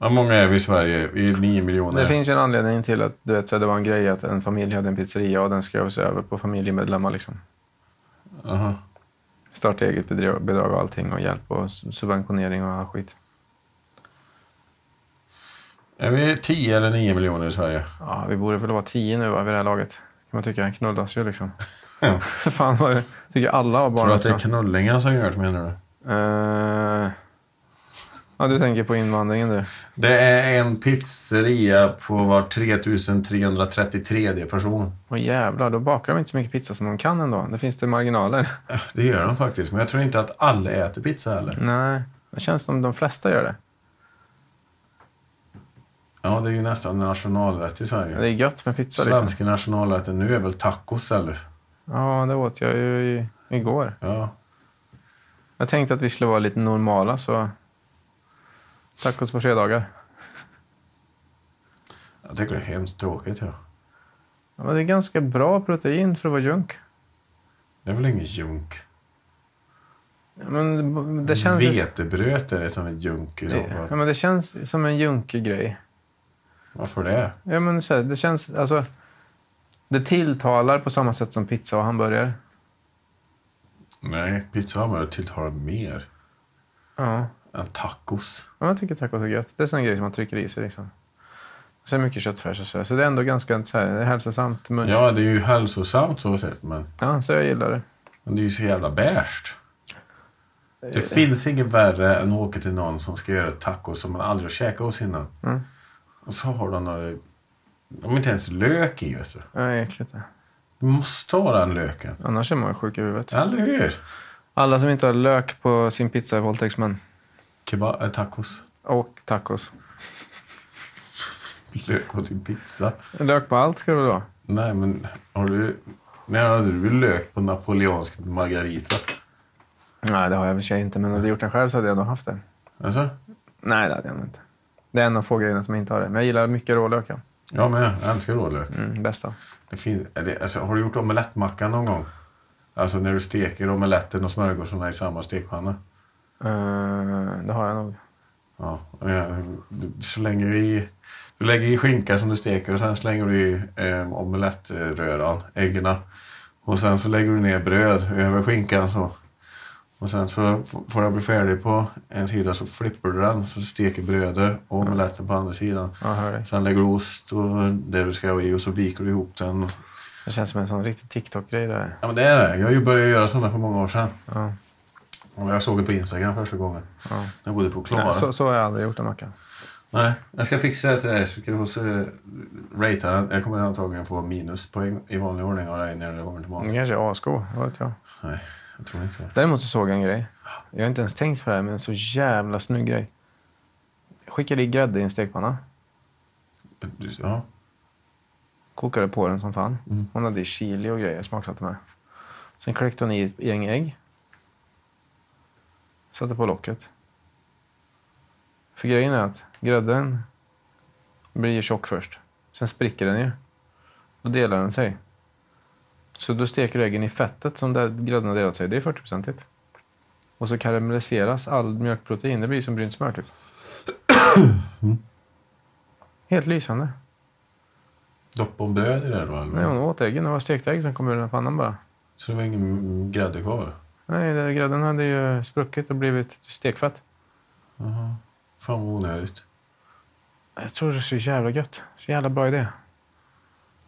Speaker 1: Hur många är vi i Sverige? Vi är nio miljoner.
Speaker 2: Det finns ju en anledning till att du vet, så här, det var en grej att en familj hade en pizzeria och den skrevs över på familjemedlemmar. Liksom.
Speaker 1: Jaha.
Speaker 2: Starta eget bedra- bidrag och allting och hjälp och s- subventionering och all skit.
Speaker 1: Är vi tio eller nio miljoner i Sverige?
Speaker 2: Ja, vi borde väl vara tio nu va, vid det här laget. Kan man tycka. Knullas ju liksom.
Speaker 1: <laughs> Ja.
Speaker 2: <laughs> Fan, vad tycker alla har
Speaker 1: Tror
Speaker 2: barn
Speaker 1: du att det
Speaker 2: också.
Speaker 1: är knullingen som gör det, menar du?
Speaker 2: Eh, ja, du tänker på invandringen du.
Speaker 1: Det är en pizzeria på var 3333 person.
Speaker 2: Åh jävlar, då bakar de inte så mycket pizza som de kan ändå. Det finns det marginaler. <laughs>
Speaker 1: Det gör de faktiskt, men jag tror inte att alla äter pizza heller.
Speaker 2: Nej, det känns som de flesta gör det.
Speaker 1: Ja, det är ju nästan en nationalrätt i Sverige.
Speaker 2: Det är gött med pizza liksom.
Speaker 1: Svenska nationalrätten nu är väl tacos eller?
Speaker 2: Ja, det åt jag ju i, igår.
Speaker 1: Ja.
Speaker 2: Jag tänkte att vi skulle vara lite normala så... Tacos på fredagar.
Speaker 1: Jag tycker det är hemskt tråkigt. Ja.
Speaker 2: Ja, men det är ganska bra protein för att vara junk.
Speaker 1: Det är väl ingen junk?
Speaker 2: Ja, Men det- det känns... ju-
Speaker 1: Vetebröt är det som är junk i så
Speaker 2: Det, ja,
Speaker 1: fall.
Speaker 2: men det känns som en junkig grej.
Speaker 1: Varför det?
Speaker 2: Ja, men så här, det känns... Alltså, det tilltalar på samma sätt som pizza och hamburgare.
Speaker 1: Nej, pizza och hamburgare tilltalar mer
Speaker 2: Ja.
Speaker 1: än tacos.
Speaker 2: Ja, jag tycker tacos är gött. Det är sån grej som man trycker i sig. Liksom. Och sen mycket köttfärs och sådär. Så det är ändå ganska så här, det är hälsosamt. Men, ja.
Speaker 1: Ja, det är ju hälsosamt så sett, men,
Speaker 2: så jag gillar det.
Speaker 1: men det är ju så jävla bärst. Det
Speaker 2: Eh.
Speaker 1: finns inget värre än att åka till någon som ska göra tacos som man aldrig har käkat hos innan.
Speaker 2: Mm.
Speaker 1: Och så har de några... De har inte ens lök i. Alltså.
Speaker 2: Ja, det är äckligt. det.
Speaker 1: Du måste ha den löken.
Speaker 2: Annars är man ju sjuk i huvudet.
Speaker 1: Eller hur?
Speaker 2: Alla som inte har lök på sin pizza är våldtäktsmän.
Speaker 1: Kebab, äh, tacos.
Speaker 2: Och tacos.
Speaker 1: Lök på din pizza.
Speaker 2: Lök på allt ska det väl vara?
Speaker 1: Nej, men har du... När hade du lök på napoleonsk margarita?
Speaker 2: Nej, det har jag i och för sig inte. Men hade jag gjort den själv så hade jag nog haft det.
Speaker 1: Alltså?
Speaker 2: Nej, det hade jag nog inte. Det är en av få grejerna som jag inte har det. Men jag gillar mycket rålök. Ja.
Speaker 1: Ja, men jag älskar rålök.
Speaker 2: Mm, bästa.
Speaker 1: Det finns, är det, alltså, har du gjort omelettmacka någon gång? Alltså när du steker omeletten och smörgåsarna i samma stekpanna.
Speaker 2: Eh, det har jag nog.
Speaker 1: Ja, och jag, du slänger i... Du lägger i skinka som du steker och sen slänger du i eh, omelettröran, äggen. Och sen så lägger du ner bröd över skinkan så. Och sen så f- får den bli färdig på en sida så flippar du den så du steker brödet och omeletten på andra sidan.
Speaker 2: Ja, Jag hör dig.
Speaker 1: Sen lägger du ost och det du ska ha i och så viker du ihop den.
Speaker 2: Det känns som en sån riktig TikTok-grej det här.
Speaker 1: Ja men det är det. Jag har ju börjat göra sådana för många år sedan.
Speaker 2: Ja.
Speaker 1: Och jag såg det på Instagram första gången.
Speaker 2: Ja.
Speaker 1: När jag bodde på Klara.
Speaker 2: Nej, så, så har jag aldrig gjort en macka.
Speaker 1: Nej, jag ska fixa det till dig. Så ska du få eh, ratea den. Jag kommer antagligen få minuspoäng i vanlig ordning av dig när det kommer till mat.
Speaker 2: Den kanske är asgod, vad vet jag.
Speaker 1: Nej, jag tror inte det.
Speaker 2: Däremot så såg jag en grej. Jag har inte ens tänkt på det här, men en så jävla snygg grej. Jag skickade i grädde i en stekpanna.
Speaker 1: Du- Ja.
Speaker 2: Kokade på den som fan.
Speaker 1: Mm.
Speaker 2: Hon hade i chili och grejer, smaksatte med. Sen kläckte hon i ett gäng ägg. Satte på locket. För grejen är att grädden blir ju tjock först. Sen spricker den ju. Då delar den sig. Så då steker du äggen i fettet som där grädden har delat sig. Det är 40-procentigt. Och så karamelliseras all mjölkprotein. Det blir som brynt smör typ. Helt lysande.
Speaker 1: Doppa om bröd i det då
Speaker 2: Nej,
Speaker 1: eller?
Speaker 2: hon åt äggen. Det var stekt ägg som kom ur den här pannan bara.
Speaker 1: Så det var ingen mm, grädde kvar?
Speaker 2: Nej, det- grädden hade ju spruckit och blivit stekfett.
Speaker 1: Jaha. Fan vad onödigt.
Speaker 2: Jag tror det är så jävla gött. Så jävla bra idé.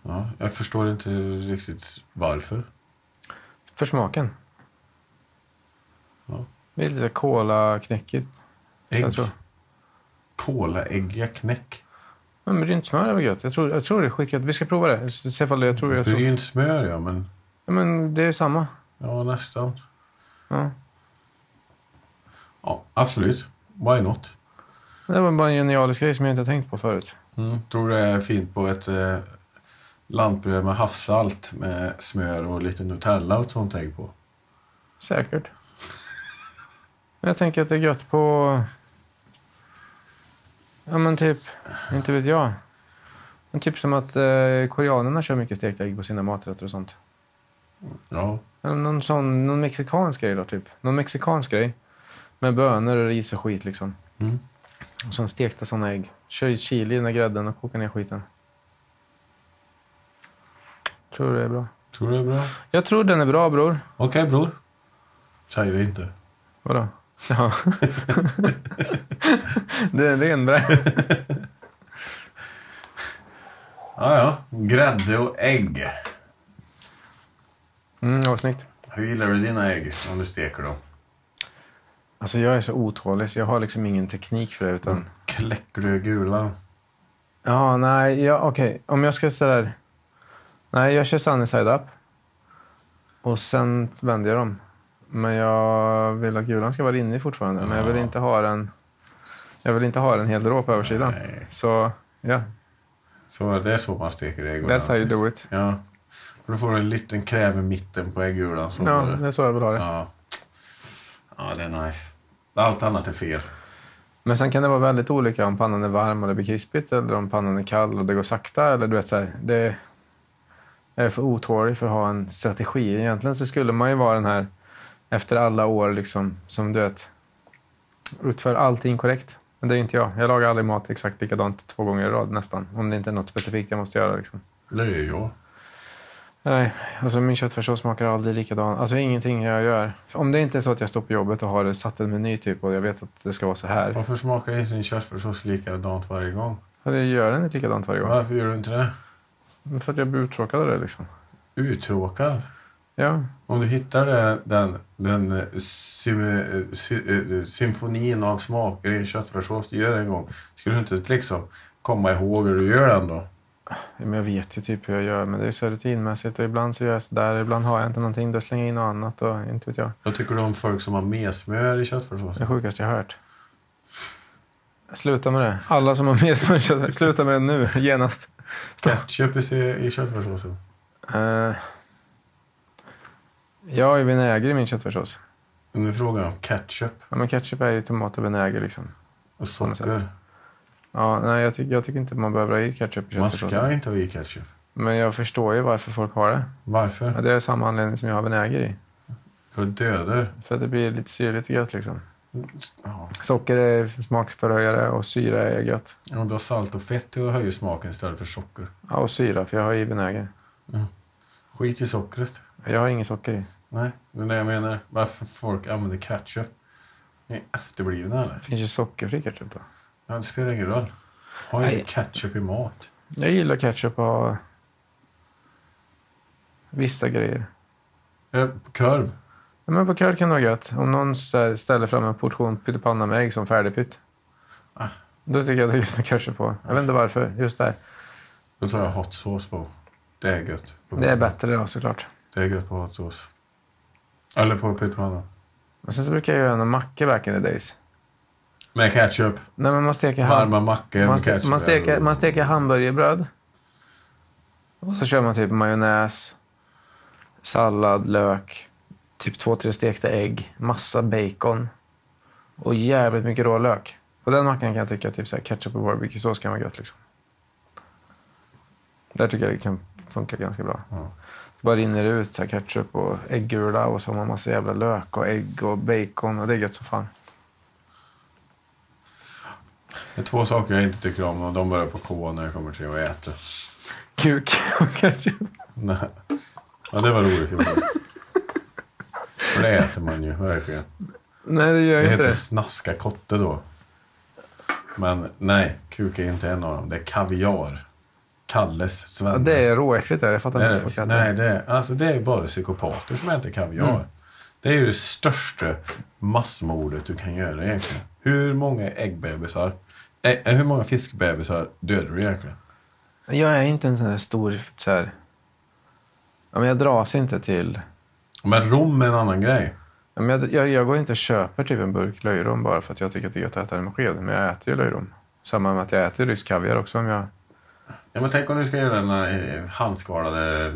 Speaker 1: Ja, jag förstår inte riktigt varför.
Speaker 2: För smaken.
Speaker 1: Ja.
Speaker 2: Det är lite kolaknäckigt.
Speaker 1: Ägg.
Speaker 2: Jag tror.
Speaker 1: Kolaäggiga knäck.
Speaker 2: Men brynt smör är väl gött? Jag tror, jag tror det är skitgött. Vi ska prova det. Se ifall det- jag tror, jag tror.
Speaker 1: Brynt smör ja, men
Speaker 2: Ja, men det är samma.
Speaker 1: ja, nästan.
Speaker 2: Ja.
Speaker 1: Ja, absolut. Why not?
Speaker 2: Det var bara en genialisk grej som jag inte har tänkt på förut.
Speaker 1: Mm, tror det är fint på ett eh, lantbröd med havssalt med smör och lite Nutella och ett sånt ägg på.
Speaker 2: Säkert. Men jag tänker att det är gött på... Ja, men typ... Inte vet jag. Men typ som att eh, koreanerna kör mycket stekt ägg på sina maträtter och sånt.
Speaker 1: Ja,
Speaker 2: Eller någon sån... Någon mexikansk grej då, typ. Någon mexikansk grej. Med bönor och ris och skit liksom.
Speaker 1: Mm.
Speaker 2: Och sen stekta såna ägg. Kör i chili i den där grädden och kokar ner skiten. Tror det är bra.
Speaker 1: tror det är bra.
Speaker 2: Jag tror den är bra, bror.
Speaker 1: Okej bror. Säger vi inte.
Speaker 2: Vadå? Ja. <laughs> det är en ren brä.
Speaker 1: Ja, ja. Grädde och ägg.
Speaker 2: Mm, vad snyggt.
Speaker 1: Hur gillar du dina ägg om du steker dem?
Speaker 2: Alltså jag är så otålig så jag har liksom ingen teknik för det utan...
Speaker 1: Kläcker du gulan?
Speaker 2: Mm. Ja, nej, ja, okej. Om jag ska ställa... här- Nej, jag kör sunny side up. Och sen vänder jag dem. Men jag vill att gulan ska vara inne fortfarande. Men jag vill
Speaker 1: Ja.
Speaker 2: inte ha den... Jag vill inte ha den helt rå på översidan.
Speaker 1: Nej.
Speaker 2: Så, ja.
Speaker 1: Så det är så man steker ägg.
Speaker 2: That's how you do it.
Speaker 1: Ja. Och då får du en liten kräm i mitten på äggulan. Så
Speaker 2: Ja,
Speaker 1: blir
Speaker 2: det
Speaker 1: det.
Speaker 2: är så jag vill ha det.
Speaker 1: Ja. ja, det är nice. Allt annat är fel.
Speaker 2: Men sen kan det vara väldigt olika om pannan är varm och det blir krispigt eller om pannan är kall och det går sakta. Eller du vet, så här, det jag är för otålig för att ha en strategi. Egentligen så skulle man ju vara den här efter alla år liksom, som du vet utför allting korrekt. Men det är ju inte jag. Jag lagar aldrig mat exakt likadant två gånger i rad nästan. Om det inte är något specifikt jag måste göra. Liksom.
Speaker 1: Det är ju jag.
Speaker 2: Nej, alltså min köttfärssås smakar aldrig likadan. Alltså ingenting jag gör. Om det inte är så att jag står på jobbet och har det satt en meny typ och jag vet att det ska vara så här.
Speaker 1: Varför smakar inte din köttfärssås likadant varje gång?
Speaker 2: Ja, Det gör den inte likadant varje gång.
Speaker 1: Varför gör du inte det?
Speaker 2: Men För att jag blir uttråkad av det liksom.
Speaker 1: Uttråkad.
Speaker 2: Ja,
Speaker 1: Om du hittar det- den, den eh, sym, eh, sy, eh, symfonin av smaker i en köttfärssås du gör en gång, skulle du inte liksom komma ihåg hur du gör den då?
Speaker 2: men jag vet ju typ hur jag gör. Men det är så rutinmässigt och ibland så gör jag sådär. Ibland har jag inte någonting. Då slänger jag in något annat och inte vet jag.
Speaker 1: Vad tycker du om folk som har med smör i
Speaker 2: Det är
Speaker 1: köttfärssåsen?
Speaker 2: sjukaste jag hört. Sluta med det. Alla som har med smörkött, sluta med det nu. Genast.
Speaker 1: Ketchup i, i köttfärssåsen?
Speaker 2: Uh, jag har ju vinäger i min köttfärssås.
Speaker 1: Nu frågar jag om ketchup.
Speaker 2: Ja, men ketchup är ju tomat och vinäger liksom.
Speaker 1: Och
Speaker 2: på något sätt.
Speaker 1: socker.
Speaker 2: Ja, nej, jag, tycker, jag tycker inte man behöver ha i ketchup i
Speaker 1: Man
Speaker 2: köttfärssåsen.
Speaker 1: ska inte ha i ketchup.
Speaker 2: Men jag förstår ju varför folk har det. Ja,
Speaker 1: Varför?
Speaker 2: det är samma anledning som jag har vinäger i.
Speaker 1: För att döda det.
Speaker 2: För att det blir lite syrligt och gött liksom.
Speaker 1: Ja.
Speaker 2: Socker är smakförhöjare och syra är gött.
Speaker 1: Om du har salt och fett till att höja smaken istället för socker.
Speaker 2: Ja, och syra, för jag har i vinäger.
Speaker 1: Skit i sockret.
Speaker 2: Jag har inget socker i.
Speaker 1: Nej, det är det jag menar. Varför folk använder ketchup? äh, Ni är efterblivna eller?
Speaker 2: Det finns ju sockerfri ketchup då.
Speaker 1: Ja, det spelar ingen roll. Ha
Speaker 2: Nej.
Speaker 1: inte ketchup i mat.
Speaker 2: Jag gillar ketchup och vissa grejer.
Speaker 1: Eh, Korv.
Speaker 2: Ja, men på curd kan det vara gött. Om någon stä- ställer fram en portion pyttipanna med ägg som färdigpytt.
Speaker 1: Ah.
Speaker 2: Då tycker jag det är gött med ketchup på. Jag vet inte varför. Just där.
Speaker 1: Då tar jag hot sauce på. Det är gött.
Speaker 2: Det är bättre då såklart.
Speaker 1: Det är gött på hot sauce. Eller på pyttipanna.
Speaker 2: Och sen så brukar jag göra en macka back in the days.
Speaker 1: Med ketchup.
Speaker 2: Nej, men man steker ham-
Speaker 1: Varma mackor
Speaker 2: man,
Speaker 1: med
Speaker 2: ste-
Speaker 1: ketchup.
Speaker 2: man, steker, man steker hamburgerbröd. Och så kör man typ majonnäs, sallad, lök, typ två, tre stekta ägg, massa bacon och jävligt mycket rålök. På den mackan kan jag tycka typ så här ketchup och barbecuesås kan vara gött. Liksom. Där tycker jag det kan funka ganska bra.
Speaker 1: Ja.
Speaker 2: Det bara rinner ut så här ketchup och äggula och så har man massa jävla lök och ägg och bacon och det är gött som fan.
Speaker 1: Det är två saker jag inte tycker om och de börjar på K när jag kommer till att äta. <laughs>
Speaker 2: Kuk och ketchup.
Speaker 1: Nej. Ja, det
Speaker 2: <laughs>
Speaker 1: var roligt. Johan. För det äter man ju verkligen.
Speaker 2: Nej, det gör jag
Speaker 1: Det
Speaker 2: inte
Speaker 1: heter
Speaker 2: det.
Speaker 1: snaska kotte då. Men nej, kuk är inte en av dem. Det är kaviar. Kalles,
Speaker 2: Ja,
Speaker 1: Svennes.
Speaker 2: det är råäckligt det. Jag
Speaker 1: Det
Speaker 2: fattar
Speaker 1: är
Speaker 2: inte folk
Speaker 1: det.
Speaker 2: äter
Speaker 1: Nej,
Speaker 2: det.
Speaker 1: det är, alltså det är bara psykopater som äter kaviar.
Speaker 2: Mm.
Speaker 1: Det är ju det största massmordet du kan göra egentligen. Hur många äggbebisar, ä, hur många fiskbebisar dödar du egentligen?
Speaker 2: Jag är inte en sån här stor... Så här... Ja, men jag dras inte till...
Speaker 1: Men rom är en annan grej.
Speaker 2: Ja, men jag, jag, jag går inte och köper typ en burk löjrom bara för att jag tycker att det är gött att äta det med sked. Men jag äter ju löjrom. Samma med att jag äter rysk kaviar också. Om jag...
Speaker 1: Ja, men tänk om du ska göra den här eh, handskalade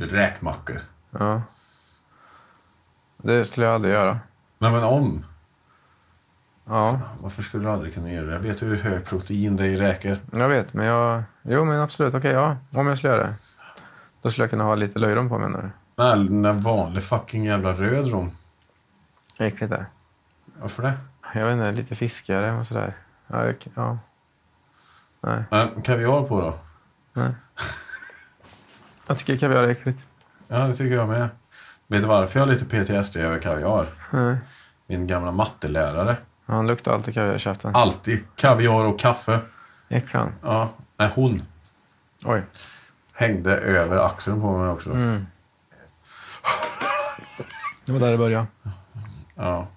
Speaker 1: räkmackor.
Speaker 2: ja. Det skulle jag aldrig göra.
Speaker 1: Nej, men om.
Speaker 2: Ja,
Speaker 1: Varför skulle du aldrig kunna göra det? Jag vet hur hög protein det är i räkor.
Speaker 2: jag vet. Men jag... Jo, men absolut. Okej, ja. Om jag skulle göra det. Då skulle jag kunna ha lite löjrom på menar
Speaker 1: Nej, den där vanlig fucking jävla röd rom.
Speaker 2: du? Äckligt det.
Speaker 1: Varför det?
Speaker 2: Jag vet inte, lite fiskigare och sådär. Ja, jag, ja. Nej.
Speaker 1: Äh, kaviar på då?
Speaker 2: Nej. Jag tycker kaviar är äckligt.
Speaker 1: Ja, det tycker jag med. Vet du varför jag har lite PTSD över kaviar?
Speaker 2: Nej.
Speaker 1: Min gamla mattelärare.
Speaker 2: Han luktar alltid kaviar i käften.
Speaker 1: Alltid. Kaviar och kaffe.
Speaker 2: Äcklar han?
Speaker 1: Ja. Nej, hon
Speaker 2: Oj.
Speaker 1: hängde över axeln på mig också.
Speaker 2: Mm. <laughs> Det var där det började.
Speaker 1: Ja.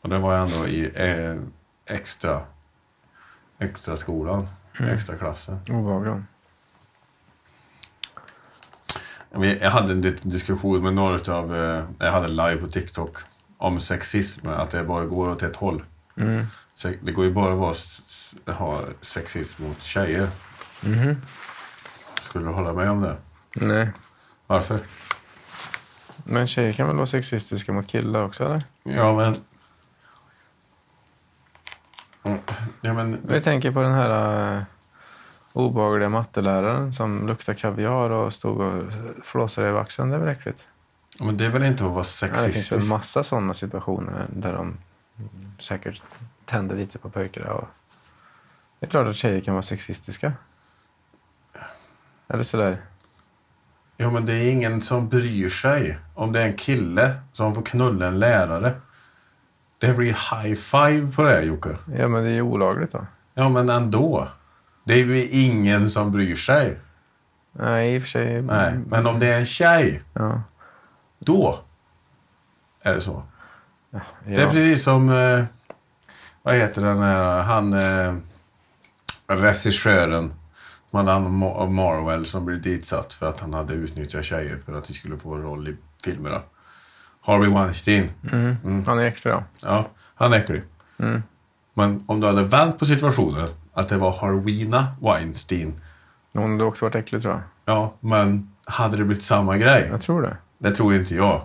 Speaker 1: Och det var jag ändå i eh, extra, extra skolan. Extra klassen.
Speaker 2: Obehagligt.
Speaker 1: Vi- Jag hade en liten diskussion med några av... Jag hade live på TikTok om sexism, att det bara går åt ett håll.
Speaker 2: Mm.
Speaker 1: Så det går ju bara att vara, s- s- ha sexism mot tjejer.
Speaker 2: Mhm.
Speaker 1: Skulle du hålla med om det?
Speaker 2: Nej.
Speaker 1: Varför?
Speaker 2: Men tjejer kan väl vara sexistiska mot killar också eller?
Speaker 1: Ja, men... Mm, Ja, men...
Speaker 2: Vi tänker på den här eh, obehagliga matteläraren som luktar kaviar och stod och flåsade i vaxen. Det är väl äckligt?
Speaker 1: ja, men det är väl inte att vara
Speaker 2: Ja, det finns väl
Speaker 1: sexistisk?
Speaker 2: massa sådana situationer där de säkert tänder lite på pojkarna. Och... Det är klart att tjejer kan vara sexistiska. Eller sådär.
Speaker 1: Ja, men det är ingen som bryr sig om det är en kille som får knulla en lärare. Det blir high five på det, här, Jocke.
Speaker 2: Ja, men det är ju olagligt då.
Speaker 1: Ja, men ändå. Det är ju ingen som bryr sig.
Speaker 2: Nej, i och för sig.
Speaker 1: Nej, men om det är en tjej,
Speaker 2: Ja.
Speaker 1: då är det så. Det är
Speaker 2: Ja.
Speaker 1: precis som... Eh, vad heter den här... Han... Eh, regissören. som hade hand om Ma- om Marwell som blev ditsatt för att han hade utnyttjat tjejer för att de skulle få en roll i filmerna. Harvey Weinstein.
Speaker 2: Mm. Han är äcklig då.
Speaker 1: Ja, han är äcklig.
Speaker 2: Mm.
Speaker 1: Men om du hade vänt på situationen, att det var Harwina Weinstein.
Speaker 2: Hon hade också varit äcklig tror jag.
Speaker 1: Ja, men hade det blivit samma grej?
Speaker 2: Jag tror det.
Speaker 1: Det tror inte jag.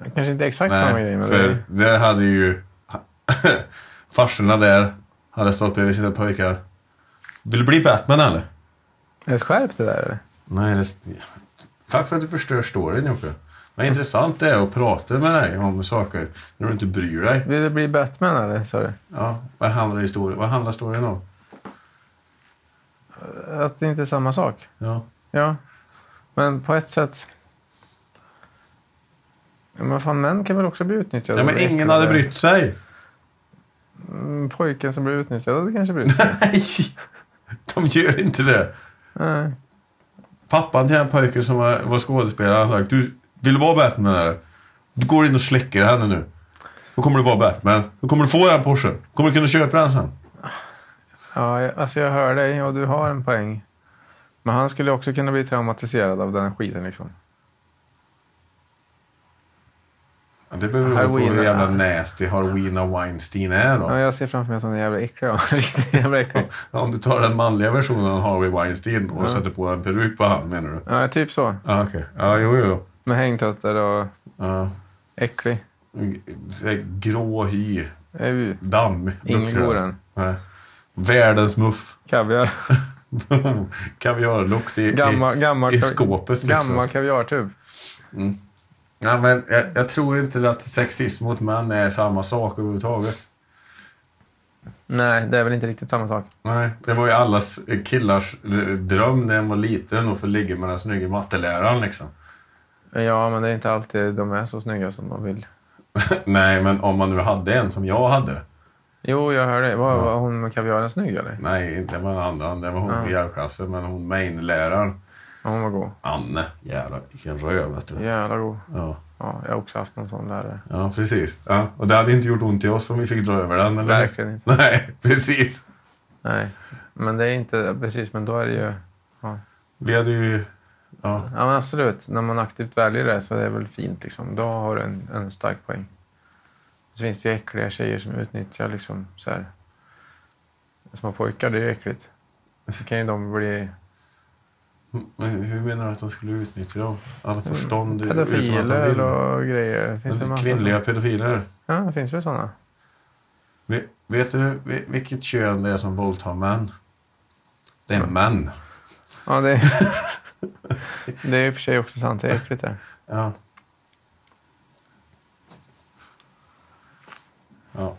Speaker 2: Kanske inte exakt samma grej, men det
Speaker 1: för
Speaker 2: är...
Speaker 1: det hade ju <laughs> farsorna där hade stått bredvid sina pojkar. Vill du bli Batman eller?
Speaker 2: Är det ett skärp det där eller?
Speaker 1: Nej, det... Tack för att du förstör storyn Jocke. Vad intressant det är att prata med dig om saker när du inte bryr dig.
Speaker 2: Vill du bli Batman eller? Sa du?
Speaker 1: Ja, vad handlar historien, vad handlar storyn om?
Speaker 2: Att det inte är samma sak.
Speaker 1: Ja.
Speaker 2: Ja. Men på ett sätt... Ja, Men fan, män kan väl också bli utnyttjade?
Speaker 1: ja, men ingen hade brytt sig.
Speaker 2: Mm, Pojken som blev utnyttjad hade kanske brytt sig.
Speaker 1: Nej, de gör inte det.
Speaker 2: Nej.
Speaker 1: Pappan till den pojken som var, var skådespelare han sagt du vill du vara Batman eller? Du går in och släcker henne nu. Då kommer du vara Batman. Då kommer du få den Porschen. Kommer du kunna köpa den sen.
Speaker 2: Ja, jag- alltså jag hör dig och du har en poäng. Men han skulle också kunna bli traumatiserad av den skiten liksom.
Speaker 1: Ja, det behöver du på
Speaker 2: Halloween,
Speaker 1: hur jävla
Speaker 2: ja.
Speaker 1: nasty Harwina Weinstein är då.
Speaker 2: Ja, jag ser framför mig en <laughs> sån jävla äcklig. ja. Riktigt jävla äcklig.
Speaker 1: Ja, Om du tar den manliga versionen av Harvey Weinstein och sätter på en peruk på han menar du?
Speaker 2: Ja, typ så.
Speaker 1: Ja, okej. Ja, jo, jo.
Speaker 2: Med hängtötter och
Speaker 1: Ja.
Speaker 2: äcklig.
Speaker 1: Grå hy.
Speaker 2: EU.
Speaker 1: Damm. luktar det.
Speaker 2: Ingoren.
Speaker 1: Nej. Världens muff. <laughs>
Speaker 2: Kaviar.
Speaker 1: Kaviarlukt i, i,
Speaker 2: Gammal, gammal,
Speaker 1: i skåpet liksom.
Speaker 2: gammal kaviartub.
Speaker 1: Ja, men jag, jag tror inte att sexism mot män är samma sak överhuvudtaget.
Speaker 2: Nej, det är väl inte riktigt samma sak.
Speaker 1: Nej, det var ju allas killars eh, dröm när man var liten att få ligga med den snygga matteläraren liksom. <laughs>
Speaker 2: Ja, men det är inte alltid de är så snygga som de vill.
Speaker 1: Nej, men om man nu hade en som jag hade.
Speaker 2: Jo, jag hör dig. Var, var hon med kaviaren snygg eller?
Speaker 1: Nej, inte det var en annan. Det var hon
Speaker 2: Ja.
Speaker 1: i hjälpklassen, men hon mainläraren.
Speaker 2: Ja, hon var god.
Speaker 1: Anne. Jävlar, vilken röv vet du.
Speaker 2: Jävla god.
Speaker 1: Ja.
Speaker 2: Ja, jag har också haft någon sån lärare.
Speaker 1: Ja, precis. Ja. Och det hade inte gjort ont i oss om vi fick dra över den, eller?
Speaker 2: Verkligen inte.
Speaker 1: <laughs> Nej, precis.
Speaker 2: Nej, men det är inte... Precis, men då är det ju... Ja,
Speaker 1: Vi hade ju... Ja.
Speaker 2: ja men absolut. När man aktivt väljer det så är det väl fint liksom. Då har du en, en stark poäng. Så finns det ju äckliga tjejer som utnyttjar liksom så här. Små pojkar, det är ju äckligt. Men så kan ju de bli
Speaker 1: Men hur menar du att de skulle utnyttja dem? Alla förstånd utan att de
Speaker 2: Mm. pedofiler
Speaker 1: vill.
Speaker 2: och grejer. Finns det en
Speaker 1: Men
Speaker 2: massa
Speaker 1: Kvinnliga pedofiler.
Speaker 2: såna? Ja, det finns väl sådana.
Speaker 1: Ve- Vet du vi- vilket kön det är som våldtar män? Det är män.
Speaker 2: Ja, det, <laughs> det är i och för sig också sant. Det är äckligt det.
Speaker 1: Ja. ja.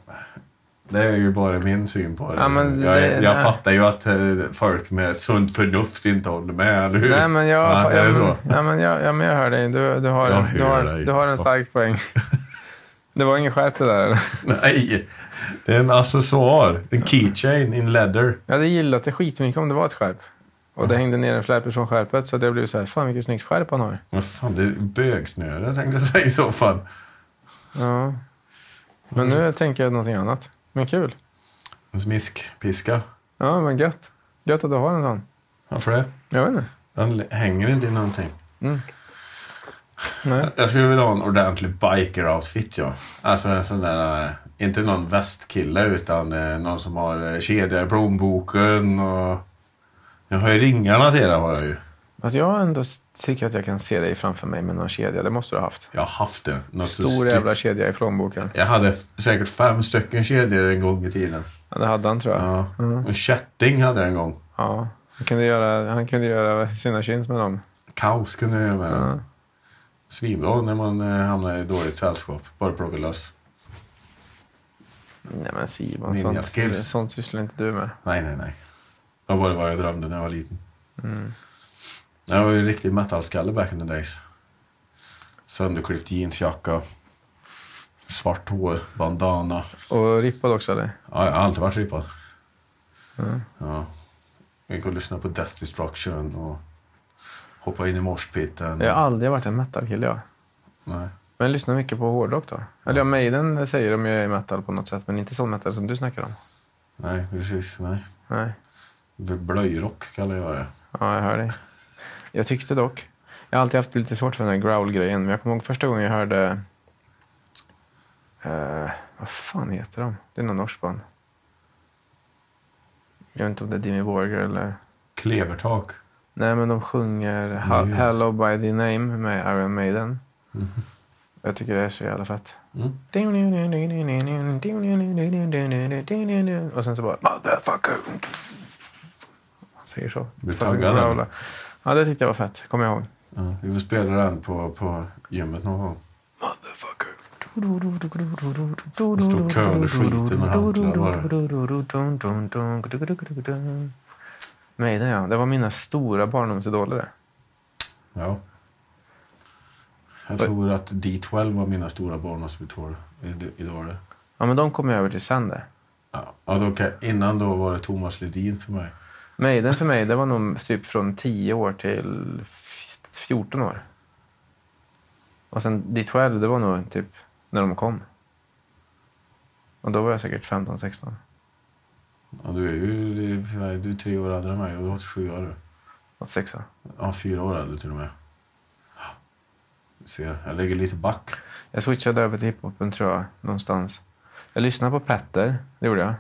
Speaker 1: Det är ju bara min syn på det.
Speaker 2: Ja, men
Speaker 1: jag
Speaker 2: det-
Speaker 1: jag
Speaker 2: nej.
Speaker 1: fattar ju att eh, folk med sunt förnuft inte håller med, eller hur?
Speaker 2: Nej, men jag,
Speaker 1: ja,
Speaker 2: ja,
Speaker 1: är det
Speaker 2: men,
Speaker 1: så?
Speaker 2: Ja, men jag, ja, men jag hör dig. Du, du, har,
Speaker 1: Jag
Speaker 2: en- du,
Speaker 1: hör
Speaker 2: har,
Speaker 1: dig.
Speaker 2: du har en stark
Speaker 1: <laughs>
Speaker 2: poäng. Det var ingen skärp det där. eller?
Speaker 1: Nej, det är en accessoar. En keychain in leather.
Speaker 2: Jag hade gillat det skitmycket om det var ett skärp. Och det hängde ner en flärp från skärpet så det blev så här, fan vilket snyggt skärp han har.
Speaker 1: Vad fan, det är bögsnöre tänkte jag säga i så fall.
Speaker 2: Ja. Men nu tänker jag någonting annat. Men kul.
Speaker 1: En smiskpiska.
Speaker 2: Ja, men gött. Gött att du har en sån.
Speaker 1: Varför det?
Speaker 2: Jag vet inte. Mm.
Speaker 1: Den l- hänger inte i någonting.
Speaker 2: Nej.
Speaker 1: Jag skulle vilja ha en ordentlig biker-outfit, ja. Alltså en sån där, eh, inte någon västkille utan eh, någon som har eh, kedja i plånboken och... Jag har ju ringarna till det har jag ju.
Speaker 2: Alltså jag har ändå s- tycker att jag kan se dig framför mig med någon kedja. Det måste du ha haft.
Speaker 1: Jag har haft det. Något så
Speaker 2: Stor
Speaker 1: styck-
Speaker 2: jävla kedja i plånboken.
Speaker 1: Jag hade f- säkert fem stycken kedjor en gång i tiden.
Speaker 2: Ja, det hade han tror jag. Ja.
Speaker 1: Ja. En kätting hade jag en gång.
Speaker 2: Han, kunde göra, han kunde göra sina kyns med dem.
Speaker 1: Kaos kunde jag göra med den.
Speaker 2: Ja.
Speaker 1: Svinbra när man eh, hamnar i dåligt sällskap. Bara plocka lös.
Speaker 2: Nej men Simon,
Speaker 1: Ninja
Speaker 2: sånt,
Speaker 1: skills.
Speaker 2: sånt sysslar inte du med.
Speaker 1: Nej, nej, nej. Det var bara vad jag drömde när jag var liten.
Speaker 2: Mm.
Speaker 1: Jag var ju en riktig metalskalle back in the days. Sönderklippt jeansjacka. Svart hår, bandana.
Speaker 2: Och rippad också eller?
Speaker 1: Ja, jag har alltid varit rippad. Ja. Jag gick och lyssnade på Death Destruction och hoppade in i morspitten.
Speaker 2: Jag har aldrig varit en metalkille jag.
Speaker 1: Nej.
Speaker 2: Men jag lyssnar mycket på hårdrock då. Eller ja, Maiden säger de ju är metal på något sätt, men inte sån metal som du snackar om.
Speaker 1: nej, precis. Nej.
Speaker 2: Nej,
Speaker 1: Blöjrock kallar jag det.
Speaker 2: ja, jag hör dig. Jag tyckte dock. Jag har alltid haft lite svårt för den här growl-grejen, men jag kommer ihåg första gången jag hörde... Eh, vad fan heter de? Det är någon norsk band. Jag vet inte om det är Dimmy Borger eller...
Speaker 1: Klevertak.
Speaker 2: Nej, men de sjunger
Speaker 1: Nej.
Speaker 2: Hall- Hello by the name med Iron Maiden. Jag tycker det är så jävla fett.
Speaker 1: Mm.
Speaker 2: du-du-du-du-du. Och sen så bara... Motherfucker! Han säger så.
Speaker 1: Blir
Speaker 2: Fucking
Speaker 1: taggad,
Speaker 2: bra, bra. Ja, det tyckte jag var fett. Kommer jag ihåg.
Speaker 1: Ja, vi får spela den på, på gymmet någon gång.
Speaker 2: Motherfucker.
Speaker 1: Det stod körskiten och hantlar
Speaker 2: Maiden, ja. Det var mina stora barndomsidoler. det.
Speaker 1: Ja. Jag tror att D12 var mina stora barndomsidoler. Idag.
Speaker 2: Ja, men de kom jag över till sen. Där.
Speaker 1: Ja, ja då, kan- innan då var det Thomas Ledin för mig.
Speaker 2: Maiden för mig, det var nog typ från 10 år till f- 14 år. Och sen D12, det var nog typ när de kom. Och då var jag säkert 15-16.
Speaker 1: Ja, du är ju du är tre år äldre än mig och du har sju år. du.
Speaker 2: 86 va?
Speaker 1: Ja, fyra år äldre till och med. Ja. Du Ser, jag ligger lite back.
Speaker 2: Jag switchade över till hiphopen tror jag, någonstans. Jag lyssnade på Petter, det gjorde jag.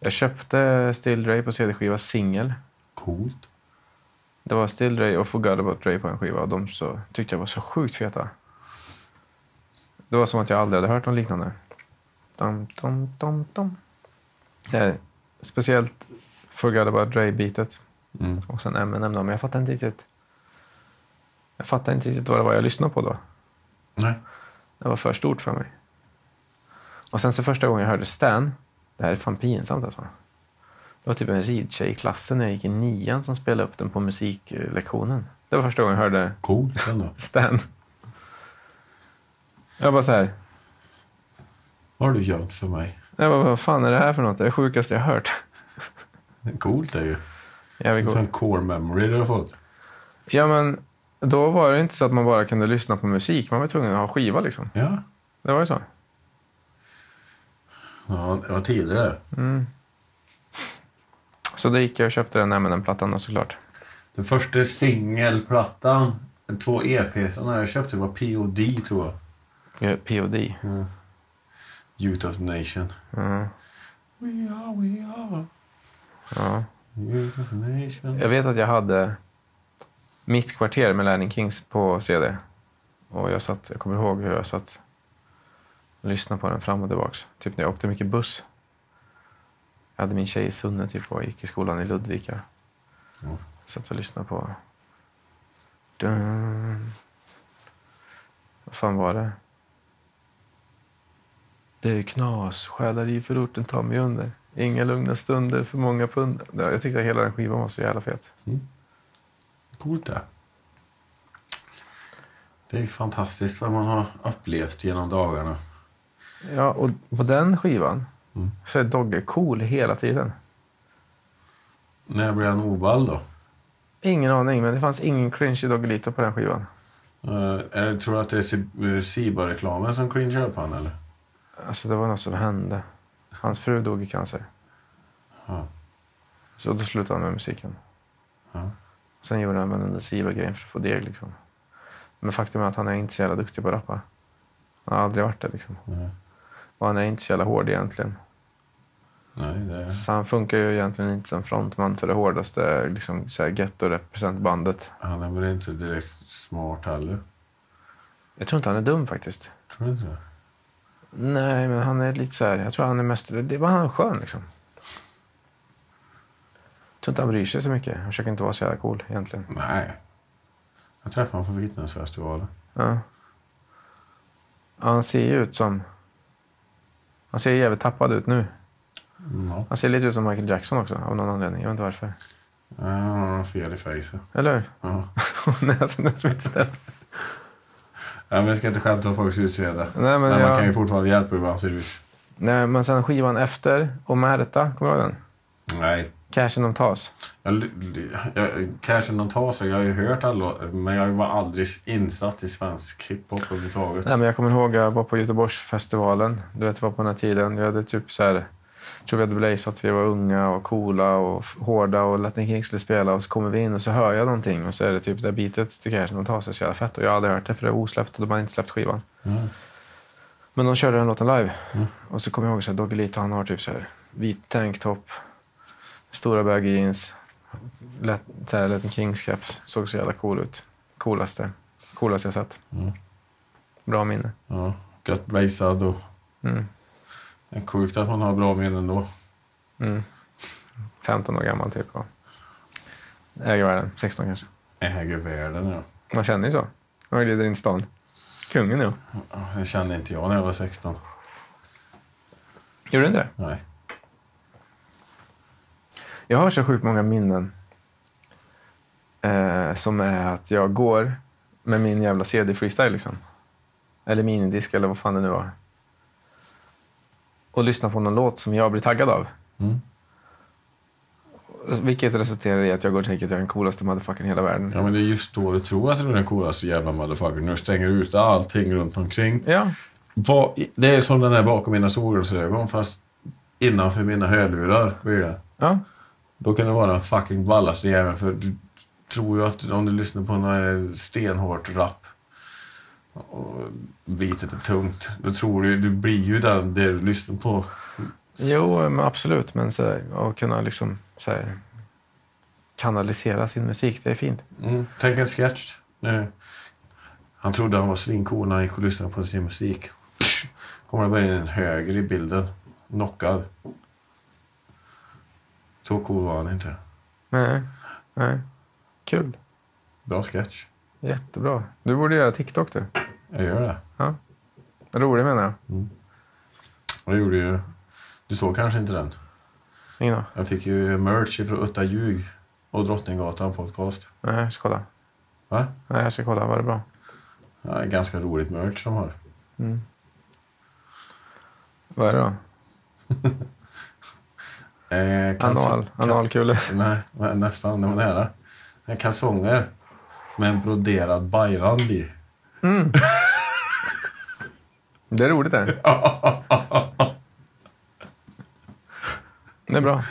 Speaker 2: Jag köpte Still Dre på CD-skiva singel.
Speaker 1: Coolt.
Speaker 2: Det var Still Dre och Forgot About Dre på en skiva och de så, tyckte jag var så sjukt feta. Det var som att jag aldrig hade hört något liknande. Dum, dum, dum, dum. Det är speciellt Forgot About Dre-bitet
Speaker 1: Mm.
Speaker 2: och sen M&M då, men jag fattar inte riktigt. Jag fattar inte riktigt vad det var jag lyssnade på då.
Speaker 1: Nej.
Speaker 2: Det var för stort för mig. Och sen så första gången jag hörde Stan, det här är fan pinsamt alltså. Det var typ en ridtjej i klassen när jag gick i nian som spelade upp den på musiklektionen. Det var första gången jag hörde
Speaker 1: Coolt ändå.
Speaker 2: Stan. Jag bara så här,
Speaker 1: Har du gömt för mig?
Speaker 2: jag bara, vad fan är det här för något? Det är det sjukaste jag har hört.
Speaker 1: Coolt är ju. En
Speaker 2: Jävligt cool.
Speaker 1: sån core memory du har fått.
Speaker 2: Ja men, då var det inte så att man bara kunde lyssna på musik. Man var tvungen att ha skiva liksom.
Speaker 1: Ja.
Speaker 2: Det var ju så.
Speaker 1: Ja, det var tidigare.
Speaker 2: Så då gick jag och köpte den här plattan då såklart.
Speaker 1: Den första singelplattan, de två EPs jag köpte var POD tror jag.
Speaker 2: Ja, POD.
Speaker 1: Youth of Nation.
Speaker 2: Mm.
Speaker 1: We are, we are.
Speaker 2: Ja.
Speaker 1: Youth of Nation.
Speaker 2: Jag vet att jag hade mitt kvarter med Latin Kings på CD. Och jag, satt, jag kommer ihåg hur jag satt och lyssnade på den fram och tillbaks. Typ när jag åkte mycket buss. Jag hade min tjej i Sunne typ, och gick i skolan i Ludvika.
Speaker 1: Ja.
Speaker 2: Satt och lyssnade på... Dun. Vad fan var det? Det är knas, själar i förorten tar mig under. Inga lugna stunder, för många pund. Ja, Jag tyckte att hela den skivan var så jävla fet.
Speaker 1: Coolt det. Det är ju fantastiskt vad man har upplevt genom dagarna.
Speaker 2: Ja, och på den skivan
Speaker 1: Mm.
Speaker 2: så är Dogge cool hela tiden.
Speaker 1: När blev han oball då?
Speaker 2: Ingen aning, men det fanns ingen cringy Doggelito på den skivan.
Speaker 1: Eh, är det, tror du att det är Si- eh, Siba-reklamen som cringear på honom eller?
Speaker 2: Alltså det var något som hände. Hans fru dog i cancer.
Speaker 1: Ja.
Speaker 2: Så då slutade han med musiken.
Speaker 1: Ja.
Speaker 2: Sen gjorde han med den där Siva-grejen för att få deg liksom. Men faktum är att han är inte så jävla duktig på att rappa. Han har aldrig varit det liksom.
Speaker 1: Nej.
Speaker 2: Och han är inte så jävla hård egentligen.
Speaker 1: Nej, det...
Speaker 2: Så han funkar ju egentligen inte som frontman för det hårdaste liksom, så här ghetto-representbandet.
Speaker 1: Han är väl inte direkt smart heller.
Speaker 2: Jag tror inte han är dum faktiskt.
Speaker 1: Tror du inte det?
Speaker 2: Nej, men han är lite så här... Jag tror han är mest... Det var han skön liksom. Jag tror inte han bryr sig så mycket. Han försöker inte vara så jävla cool egentligen.
Speaker 1: Nej. Jag träffade honom på vittnesfestivalen.
Speaker 2: Ja. Ja, han ser ju ut som... Han ser jävligt tappad ut nu.
Speaker 1: Mm, Ja.
Speaker 2: Han ser lite ut som Michael Jackson också av någon anledning. Jag vet inte varför.
Speaker 1: Nej, Han har några fel i fejset.
Speaker 2: Eller <laughs> hur?
Speaker 1: Ja.
Speaker 2: Näsan är som inte stämmer.
Speaker 1: Nej, men jag ska inte skämta om folks utseende.
Speaker 2: Nej, men,
Speaker 1: Men man
Speaker 2: jag...
Speaker 1: kan ju fortfarande hjälpa hur man ser ut.
Speaker 2: Nej, men sen skivan efter och Märta, kommer du ihåg den?
Speaker 1: Nej.
Speaker 2: Cashen de tas.
Speaker 1: Jag, jag, kanske någon tar sig. Jag har ju hört alla men jag var aldrig insatt i svensk hiphop överhuvudtaget.
Speaker 2: Nej, men jag kommer ihåg jag var på Göteborgsfestivalen. Du vet, det var på den här tiden. Vi hade typ så här... Jag tror vi hade blazat. Vi var unga och coola och f- hårda och Latin King skulle spela och så kommer vi in och så hör jag någonting och så är det typ det där bitet till Cashen de tas är så jävla fett och jag har aldrig hört det för det är osläppt och de har inte släppt skivan.
Speaker 1: Mm.
Speaker 2: Men de körde den låten live. Och så kommer jag ihåg så här, Doggelito, han har typ så här vit tanktop, stora baggy jeans, lätt, så här, Latin Kings caps. Såg så jävla cool ut. Coolaste. Coolaste jag sett.
Speaker 1: Mm.
Speaker 2: Bra minne.
Speaker 1: Ja, gött basad och
Speaker 2: Mm.
Speaker 1: Det är sjukt att man har bra minnen då.
Speaker 2: 15 Mm. år gammal typ. Och äger världen, 16 kanske.
Speaker 1: Äger världen ja.
Speaker 2: Man känner ju så. Man glider in i stan. Kungen ja.
Speaker 1: Det kände inte jag när jag var 16.
Speaker 2: Gjorde du inte det?
Speaker 1: Nej.
Speaker 2: Jag har så sjukt många minnen. Eh, som är att jag går med min jävla CD-freestyle liksom. Eller minidisk eller vad fan det nu var. Och lyssnar på någon låt som jag blir taggad av.
Speaker 1: Mm.
Speaker 2: Vilket resulterar i att jag går och tänker att jag är den coolaste motherfuckern i hela världen.
Speaker 1: Ja men det är just då du tror att du är den coolaste jävla motherfuckern. Nu stänger du ut allting runt omkring.
Speaker 2: Ja,
Speaker 1: Vad, det är som den där bakom mina solglasögon fast innanför mina hörlurar blir det.
Speaker 2: ja.
Speaker 1: Då kan det vara den fucking ballaste jäveln för du tror ju att om du lyssnar på någon eh, stenhårt rap och bitet är tungt, då tror du du blir ju den det du lyssnar på.
Speaker 2: Jo, men absolut. Men så där, att kunna liksom, så här, kanalisera sin musik, det är fint.
Speaker 1: Mm. Tänk en sketch. Nu. Han trodde han var svincool när han gick och lyssnade på sin musik. Psh! Kommer det bara in en höger i bilden. Knockad. Så cool var han inte.
Speaker 2: Nej, nej. Kul.
Speaker 1: Bra sketch.
Speaker 2: Jättebra. Du borde göra TikTok du.
Speaker 1: Jag gör det.
Speaker 2: Rolig menar jag.
Speaker 1: Och det gjorde ju... Du såg kanske inte den.
Speaker 2: Ingen aning.
Speaker 1: Jag fick ju merch ifrån Utta Ljug och Drottninggatan podcast.
Speaker 2: Nej, jag ska kolla.
Speaker 1: Va?
Speaker 2: Nej, jag ska kolla. Var det bra?
Speaker 1: Ja, ganska roligt merch de har.
Speaker 2: Vad är det då?
Speaker 1: Eh, kalso-
Speaker 2: Anal.
Speaker 1: kal-
Speaker 2: Analkulor.
Speaker 1: Nej, nä- nästan. Det var nära. Eh, Kalsonger med en broderad bajrand i.
Speaker 2: Det är roligt det. Det är bra.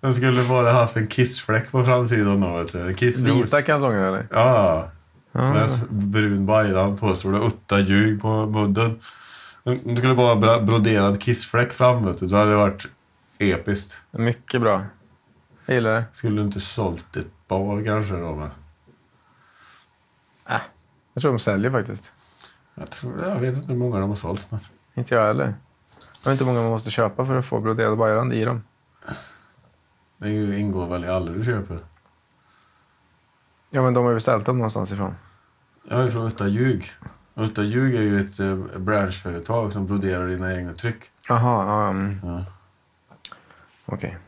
Speaker 1: Den skulle bara haft en kissfläck på framsidan då, vet du. En kissros.
Speaker 2: Vita kalsonger eller?
Speaker 1: Ja.
Speaker 2: Ja.
Speaker 1: Med en s- brun bajran på så det Utta Ljug på mudden. Det skulle bara ha bra- broderad kissfläck fram, vet du. Det hade varit episkt.
Speaker 2: Mycket bra. Jag gillar det.
Speaker 1: Skulle du inte sålt ett par kanske då? Men
Speaker 2: Äh. Jag tror de säljer faktiskt.
Speaker 1: jag, tror, jag vet inte hur många de har sålt. Men...
Speaker 2: Inte jag heller. Jag vet inte hur många man måste köpa för att få broderad bajrand i dem.
Speaker 1: Det är ju- ingår väl i alla du köper?
Speaker 2: Ja, men de har ju beställt dem någonstans ifrån.
Speaker 1: Jag är från Utta Ljug. Utta Ljug är ju ett eh, branschföretag som broderar dina egna tryck.
Speaker 2: Jaha, ja. mm.
Speaker 1: Ja.
Speaker 2: Okej.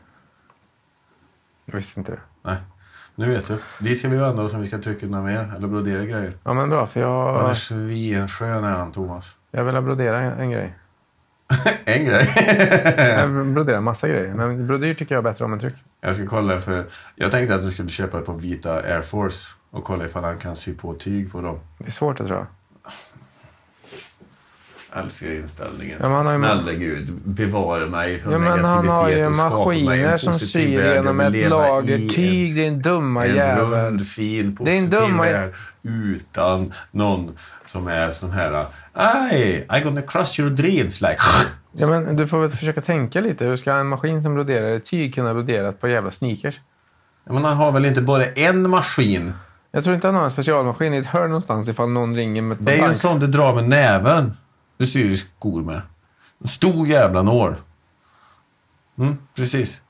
Speaker 2: Jag visste inte det.
Speaker 1: Nej, nu vet du. Dit ska vi vända oss om vi ska trycka några mer eller brodera grejer.
Speaker 2: Ja, men bra, för
Speaker 1: Han är
Speaker 2: jag,
Speaker 1: svinskön är han, Thomas.
Speaker 2: jag vill brodera en, en grej.
Speaker 1: en grej. <laughs>
Speaker 2: Jag vill brodera en massa grejer, men brodyr tycker jag är bättre om än tryck.
Speaker 1: Jag ska kolla för... Jag tänkte att du skulle köpa ett par vita Air Force och kolla ifall han kan sy på tyg på dem.
Speaker 2: Det är svårt, det tror jag.
Speaker 1: Älskar inställningen.
Speaker 2: Ja, men han har ju-
Speaker 1: Snälla gud, bevara mig från
Speaker 2: Ja, men han har ju
Speaker 1: negativitet och skapa mig en
Speaker 2: maskiner som
Speaker 1: positiv
Speaker 2: syr
Speaker 1: värld. Jag
Speaker 2: genom
Speaker 1: vill
Speaker 2: ett
Speaker 1: leva
Speaker 2: lager
Speaker 1: i en-
Speaker 2: tyg, din dumma
Speaker 1: En
Speaker 2: jävel.
Speaker 1: rund, fin,
Speaker 2: är en
Speaker 1: positiv
Speaker 2: dum-
Speaker 1: värld utan någon som är sån här... Aj, I'm gonna crush your dreams liksom. like...
Speaker 2: Ja, men du får väl försöka tänka lite. Hur ska en maskin som broderar i tyg kunna brodera ett par jävla sneakers?
Speaker 1: Men han har väl inte bara en maskin?
Speaker 2: Jag tror inte han har en specialmaskin i ett hörn någonstans ifall någon ringer med
Speaker 1: Det är ju en sån du drar med näven. Du syr skor med. En stor jävla nål. Mm, precis.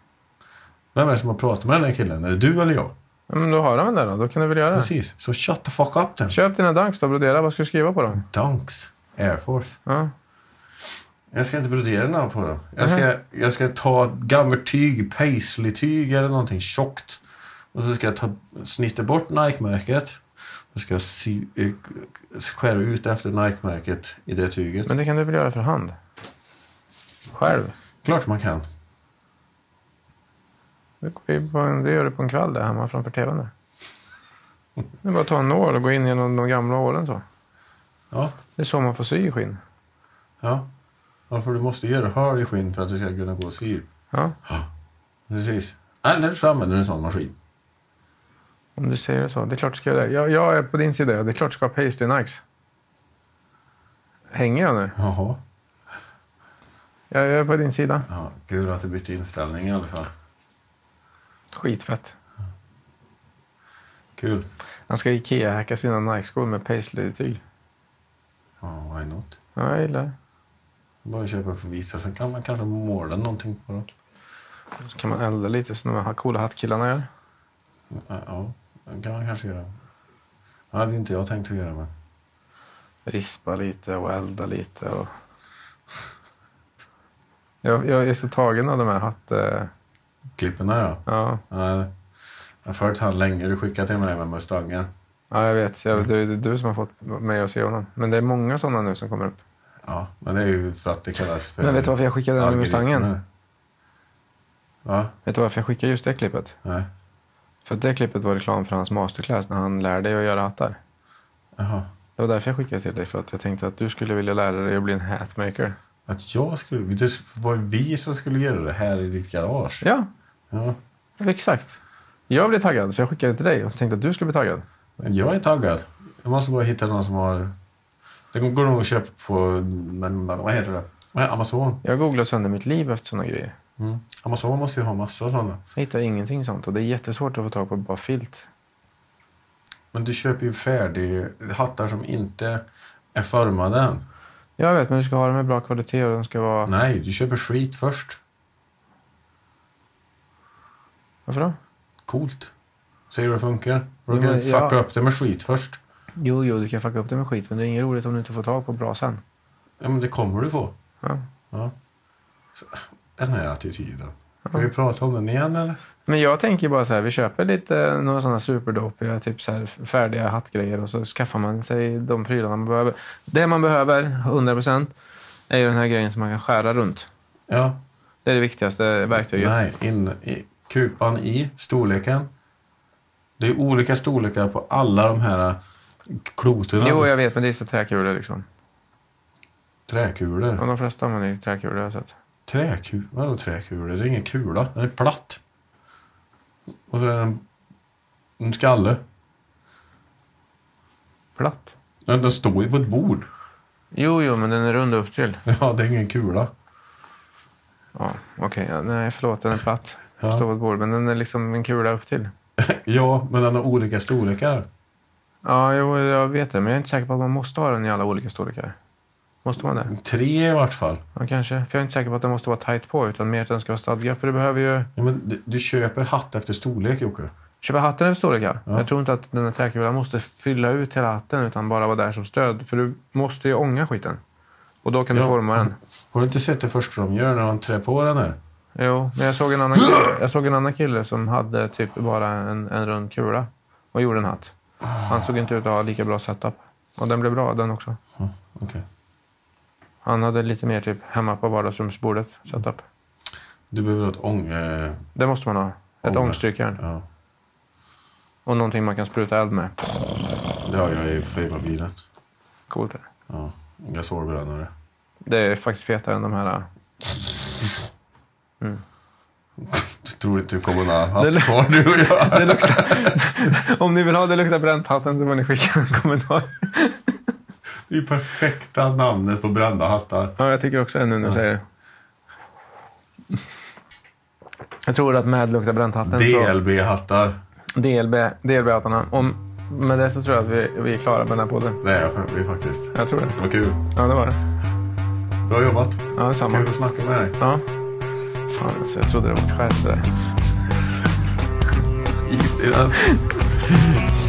Speaker 1: Vem är det som har pratat med den här killen? Är det du eller jag?
Speaker 2: Ja, men då har han den där då. Då kan du väl göra det.
Speaker 1: Precis. Så shut the fuck up then.
Speaker 2: Köp dina Dunks då, brodera. Vad ska du skriva på dem?
Speaker 1: Dunks. Air Force.
Speaker 2: Ja.
Speaker 1: Jag ska inte brodera namn på dem. Jag ska, jag ska ta gammalt tyg, paisley-tyg eller någonting tjockt. Och så ska jag ta, snitta bort Nike-märket. Och ska jag sy, eh, skära ut efter Nike-märket i det tyget.
Speaker 2: Men det kan du väl göra för hand? Själv?
Speaker 1: Klart man kan.
Speaker 2: Det, går ju på en, det gör du på en kväll där hemma framför tvn. Där. Det är bara att ta en nål och gå in genom de gamla hålen så.
Speaker 1: Ja,
Speaker 2: Det är så man får sy i skinn.
Speaker 1: ja. ja för du måste göra hål i skinn för att du ska kunna gå och sy.
Speaker 2: Ja,
Speaker 1: Precis. Eller så använder du en sån maskin.
Speaker 2: om du säger det så. Det är klart du ska göra det. Jag, jag är på din sida. Det är klart du ska ha pastry nikes. Hänger jag nu?
Speaker 1: Jaha.
Speaker 2: Jag, jag är på din sida.
Speaker 1: Ja, kul att du bytte inställning i alla fall.
Speaker 2: Skitfett.
Speaker 1: Kul.
Speaker 2: Han ska Ikea-hacka sina Nike-skor med paisley-tyg.
Speaker 1: Ja, why not?
Speaker 2: Ja, jag gillar det.
Speaker 1: Bara köpa den för visa. Sen kan man kanske måla någonting på den.
Speaker 2: Så kan man elda lite som de här coola hattkillarna gör.
Speaker 1: Ja, Ja, det kan man kanske göra. Det hade inte jag tänkt att göra, men...
Speaker 2: Rispa lite och elda lite. Och... Jag, jag är så tagen av de här hatt... eh,
Speaker 1: Klipporna, ja.
Speaker 2: Ja,
Speaker 1: Nej. Jag har följt han länge. Du skickade till mig med Mustangen.
Speaker 2: ja jag vet. Jag, det är det är du som har fått mig att se honom. Men det är många sådana nu som kommer upp.
Speaker 1: Ja, men det är ju för att det kallas för...
Speaker 2: Men vet du varför jag skickade den här
Speaker 1: algoritmer.
Speaker 2: Mustangen?
Speaker 1: Va?
Speaker 2: Vet du varför jag skickade just det klippet?
Speaker 1: Nej.
Speaker 2: För att det klippet var reklam för hans masterclass när han lär dig att göra hattar.
Speaker 1: Jaha.
Speaker 2: Det var därför jag skickade till dig. För att jag tänkte att du skulle vilja lära dig att bli en hatmaker.
Speaker 1: Att jag skulle... Det var ju vi som skulle göra det här i ditt garage.
Speaker 2: Ja,
Speaker 1: Ja.
Speaker 2: exakt. Jag blev taggad så jag skickade det till dig och så tänkte jag att du skulle bli taggad.
Speaker 1: Men jag är taggad. Jag måste bara hitta någon som har... Det går nog att köpa på... Men, vad heter det? Vad heter- Amazon.
Speaker 2: Jag googlade sönder mitt liv efter sådana grejer.
Speaker 1: Mm. Amazon måste ju ha massa sådana.
Speaker 2: Jag hittar ingenting sånt och det är jättesvårt att få tag på bara filt.
Speaker 1: Men du köper ju färdig hattar som inte är formade än.
Speaker 2: Jag vet, men du ska ha dem med bra kvalitet och de ska vara...
Speaker 1: Nej, du köper skit först.
Speaker 2: Varför då?
Speaker 1: Coolt. Se hur det funkar. Då
Speaker 2: Jo,
Speaker 1: kan
Speaker 2: men
Speaker 1: du fucka
Speaker 2: jag-
Speaker 1: upp det med skit först.
Speaker 2: Jo, jo, du kan fucka upp det med skit, men det är inget roligt om du inte får tag på bra sen.
Speaker 1: Ja, men det kommer du få.
Speaker 2: Ja.
Speaker 1: Ja. Så, Den här attityden. Ska vi prata om den igen eller?
Speaker 2: Men jag tänker bara så här, vi köper lite några sådana superdopiga, typ så här färdiga hattgrejer och så skaffar man sig de prylarna man behöver. Det man behöver, 100%, är ju den här grejen som man kan skära runt.
Speaker 1: Ja.
Speaker 2: Det är det viktigaste verktyget.
Speaker 1: Nej, in, i, kupan i storleken. Det är olika storlekar på alla de här eh, kloterna.
Speaker 2: Jo, jag vet, men det är så träkulor liksom.
Speaker 1: Träkulor.
Speaker 2: Och de flesta använder ju träkulor, jag har sett.
Speaker 1: Träkulor? Vadå träkulor? Det är ingen kula. Den är platt. Och så är den en skalle.
Speaker 2: Platt.
Speaker 1: Den, den står ju på ett bord. <laughs>
Speaker 2: Jo, jo, men den är rund upp till.
Speaker 1: Ja, det är ingen kula. <laughs>
Speaker 2: Ja, okej. Ja, nej, förlåt, den är platt.
Speaker 1: Ja.
Speaker 2: Står på ett bord, men den är liksom en kula upp till.
Speaker 1: Ja, men den har olika storlekar.
Speaker 2: Ja, jo, jag vet det, men jag är inte säker på att man måste ha den i alla olika storlekar. Måste man det?
Speaker 1: Tre i vart fall.
Speaker 2: Ja, kanske. För jag är inte säker på att den måste vara tight på, utan mer att den ska vara stadgad. För du behöver ju...
Speaker 1: Ja, men du, du köper hatt efter storlek, Jocke.
Speaker 2: Köpa hatten över storlekar.
Speaker 1: Ja.
Speaker 2: Jag tror inte att den här träkulan måste fylla ut hela hatten, utan bara vara där som stöd. För du måste ju ånga skiten. Och då kan du
Speaker 1: Ja.
Speaker 2: forma den.
Speaker 1: Har du inte sett det första de gör när de trär på den här?
Speaker 2: Jo, men jag såg en annan kille, jag såg en annan kille som hade typ bara en, en rund kula och gjorde en hatt. Han såg inte ut att ha lika bra setup. Och den blev bra den också.
Speaker 1: Ja, Okej.
Speaker 2: Han hade lite mer typ hemma på vardagsrumsbordet setup.
Speaker 1: Du behöver ha ett ång... Eh,
Speaker 2: Det måste man ha. Ett
Speaker 1: Ånga.
Speaker 2: ångstrykjärn.
Speaker 1: ja.
Speaker 2: Och någonting man kan spruta eld med.
Speaker 1: Det har jag i firmabilen.
Speaker 2: Coolt. är det.
Speaker 1: Ja. Gasolbrännare.
Speaker 2: Det är faktiskt fetare än de här. äh.
Speaker 1: Du tror inte du kommer att ha
Speaker 2: Det lä-
Speaker 1: haft kvar du och
Speaker 2: <laughs>
Speaker 1: jag.
Speaker 2: Det luktar... <laughs> Om ni vill ha Det luktar bränt hatten så får ni skicka en kommentar.
Speaker 1: Det är ju perfekta namnet på brända hattar.
Speaker 2: Ja, jag tycker också det nu när du säger det. Jag tror att med luktar bränt hatten så...
Speaker 1: DLB-hattar.
Speaker 2: DLB, DLB-hattarna. Om, med det så tror jag att vi, vi är klara med den här podden.
Speaker 1: Det är jag för- vi faktiskt.
Speaker 2: Jag tror det.
Speaker 1: Vad kul.
Speaker 2: Ja, det var det.
Speaker 1: Bra jobbat.
Speaker 2: Ja, detsamma.
Speaker 1: Kul att snacka med dig.
Speaker 2: Ja. Fan, alltså, jag trodde det var ett skämt det där.
Speaker 1: Skit i den.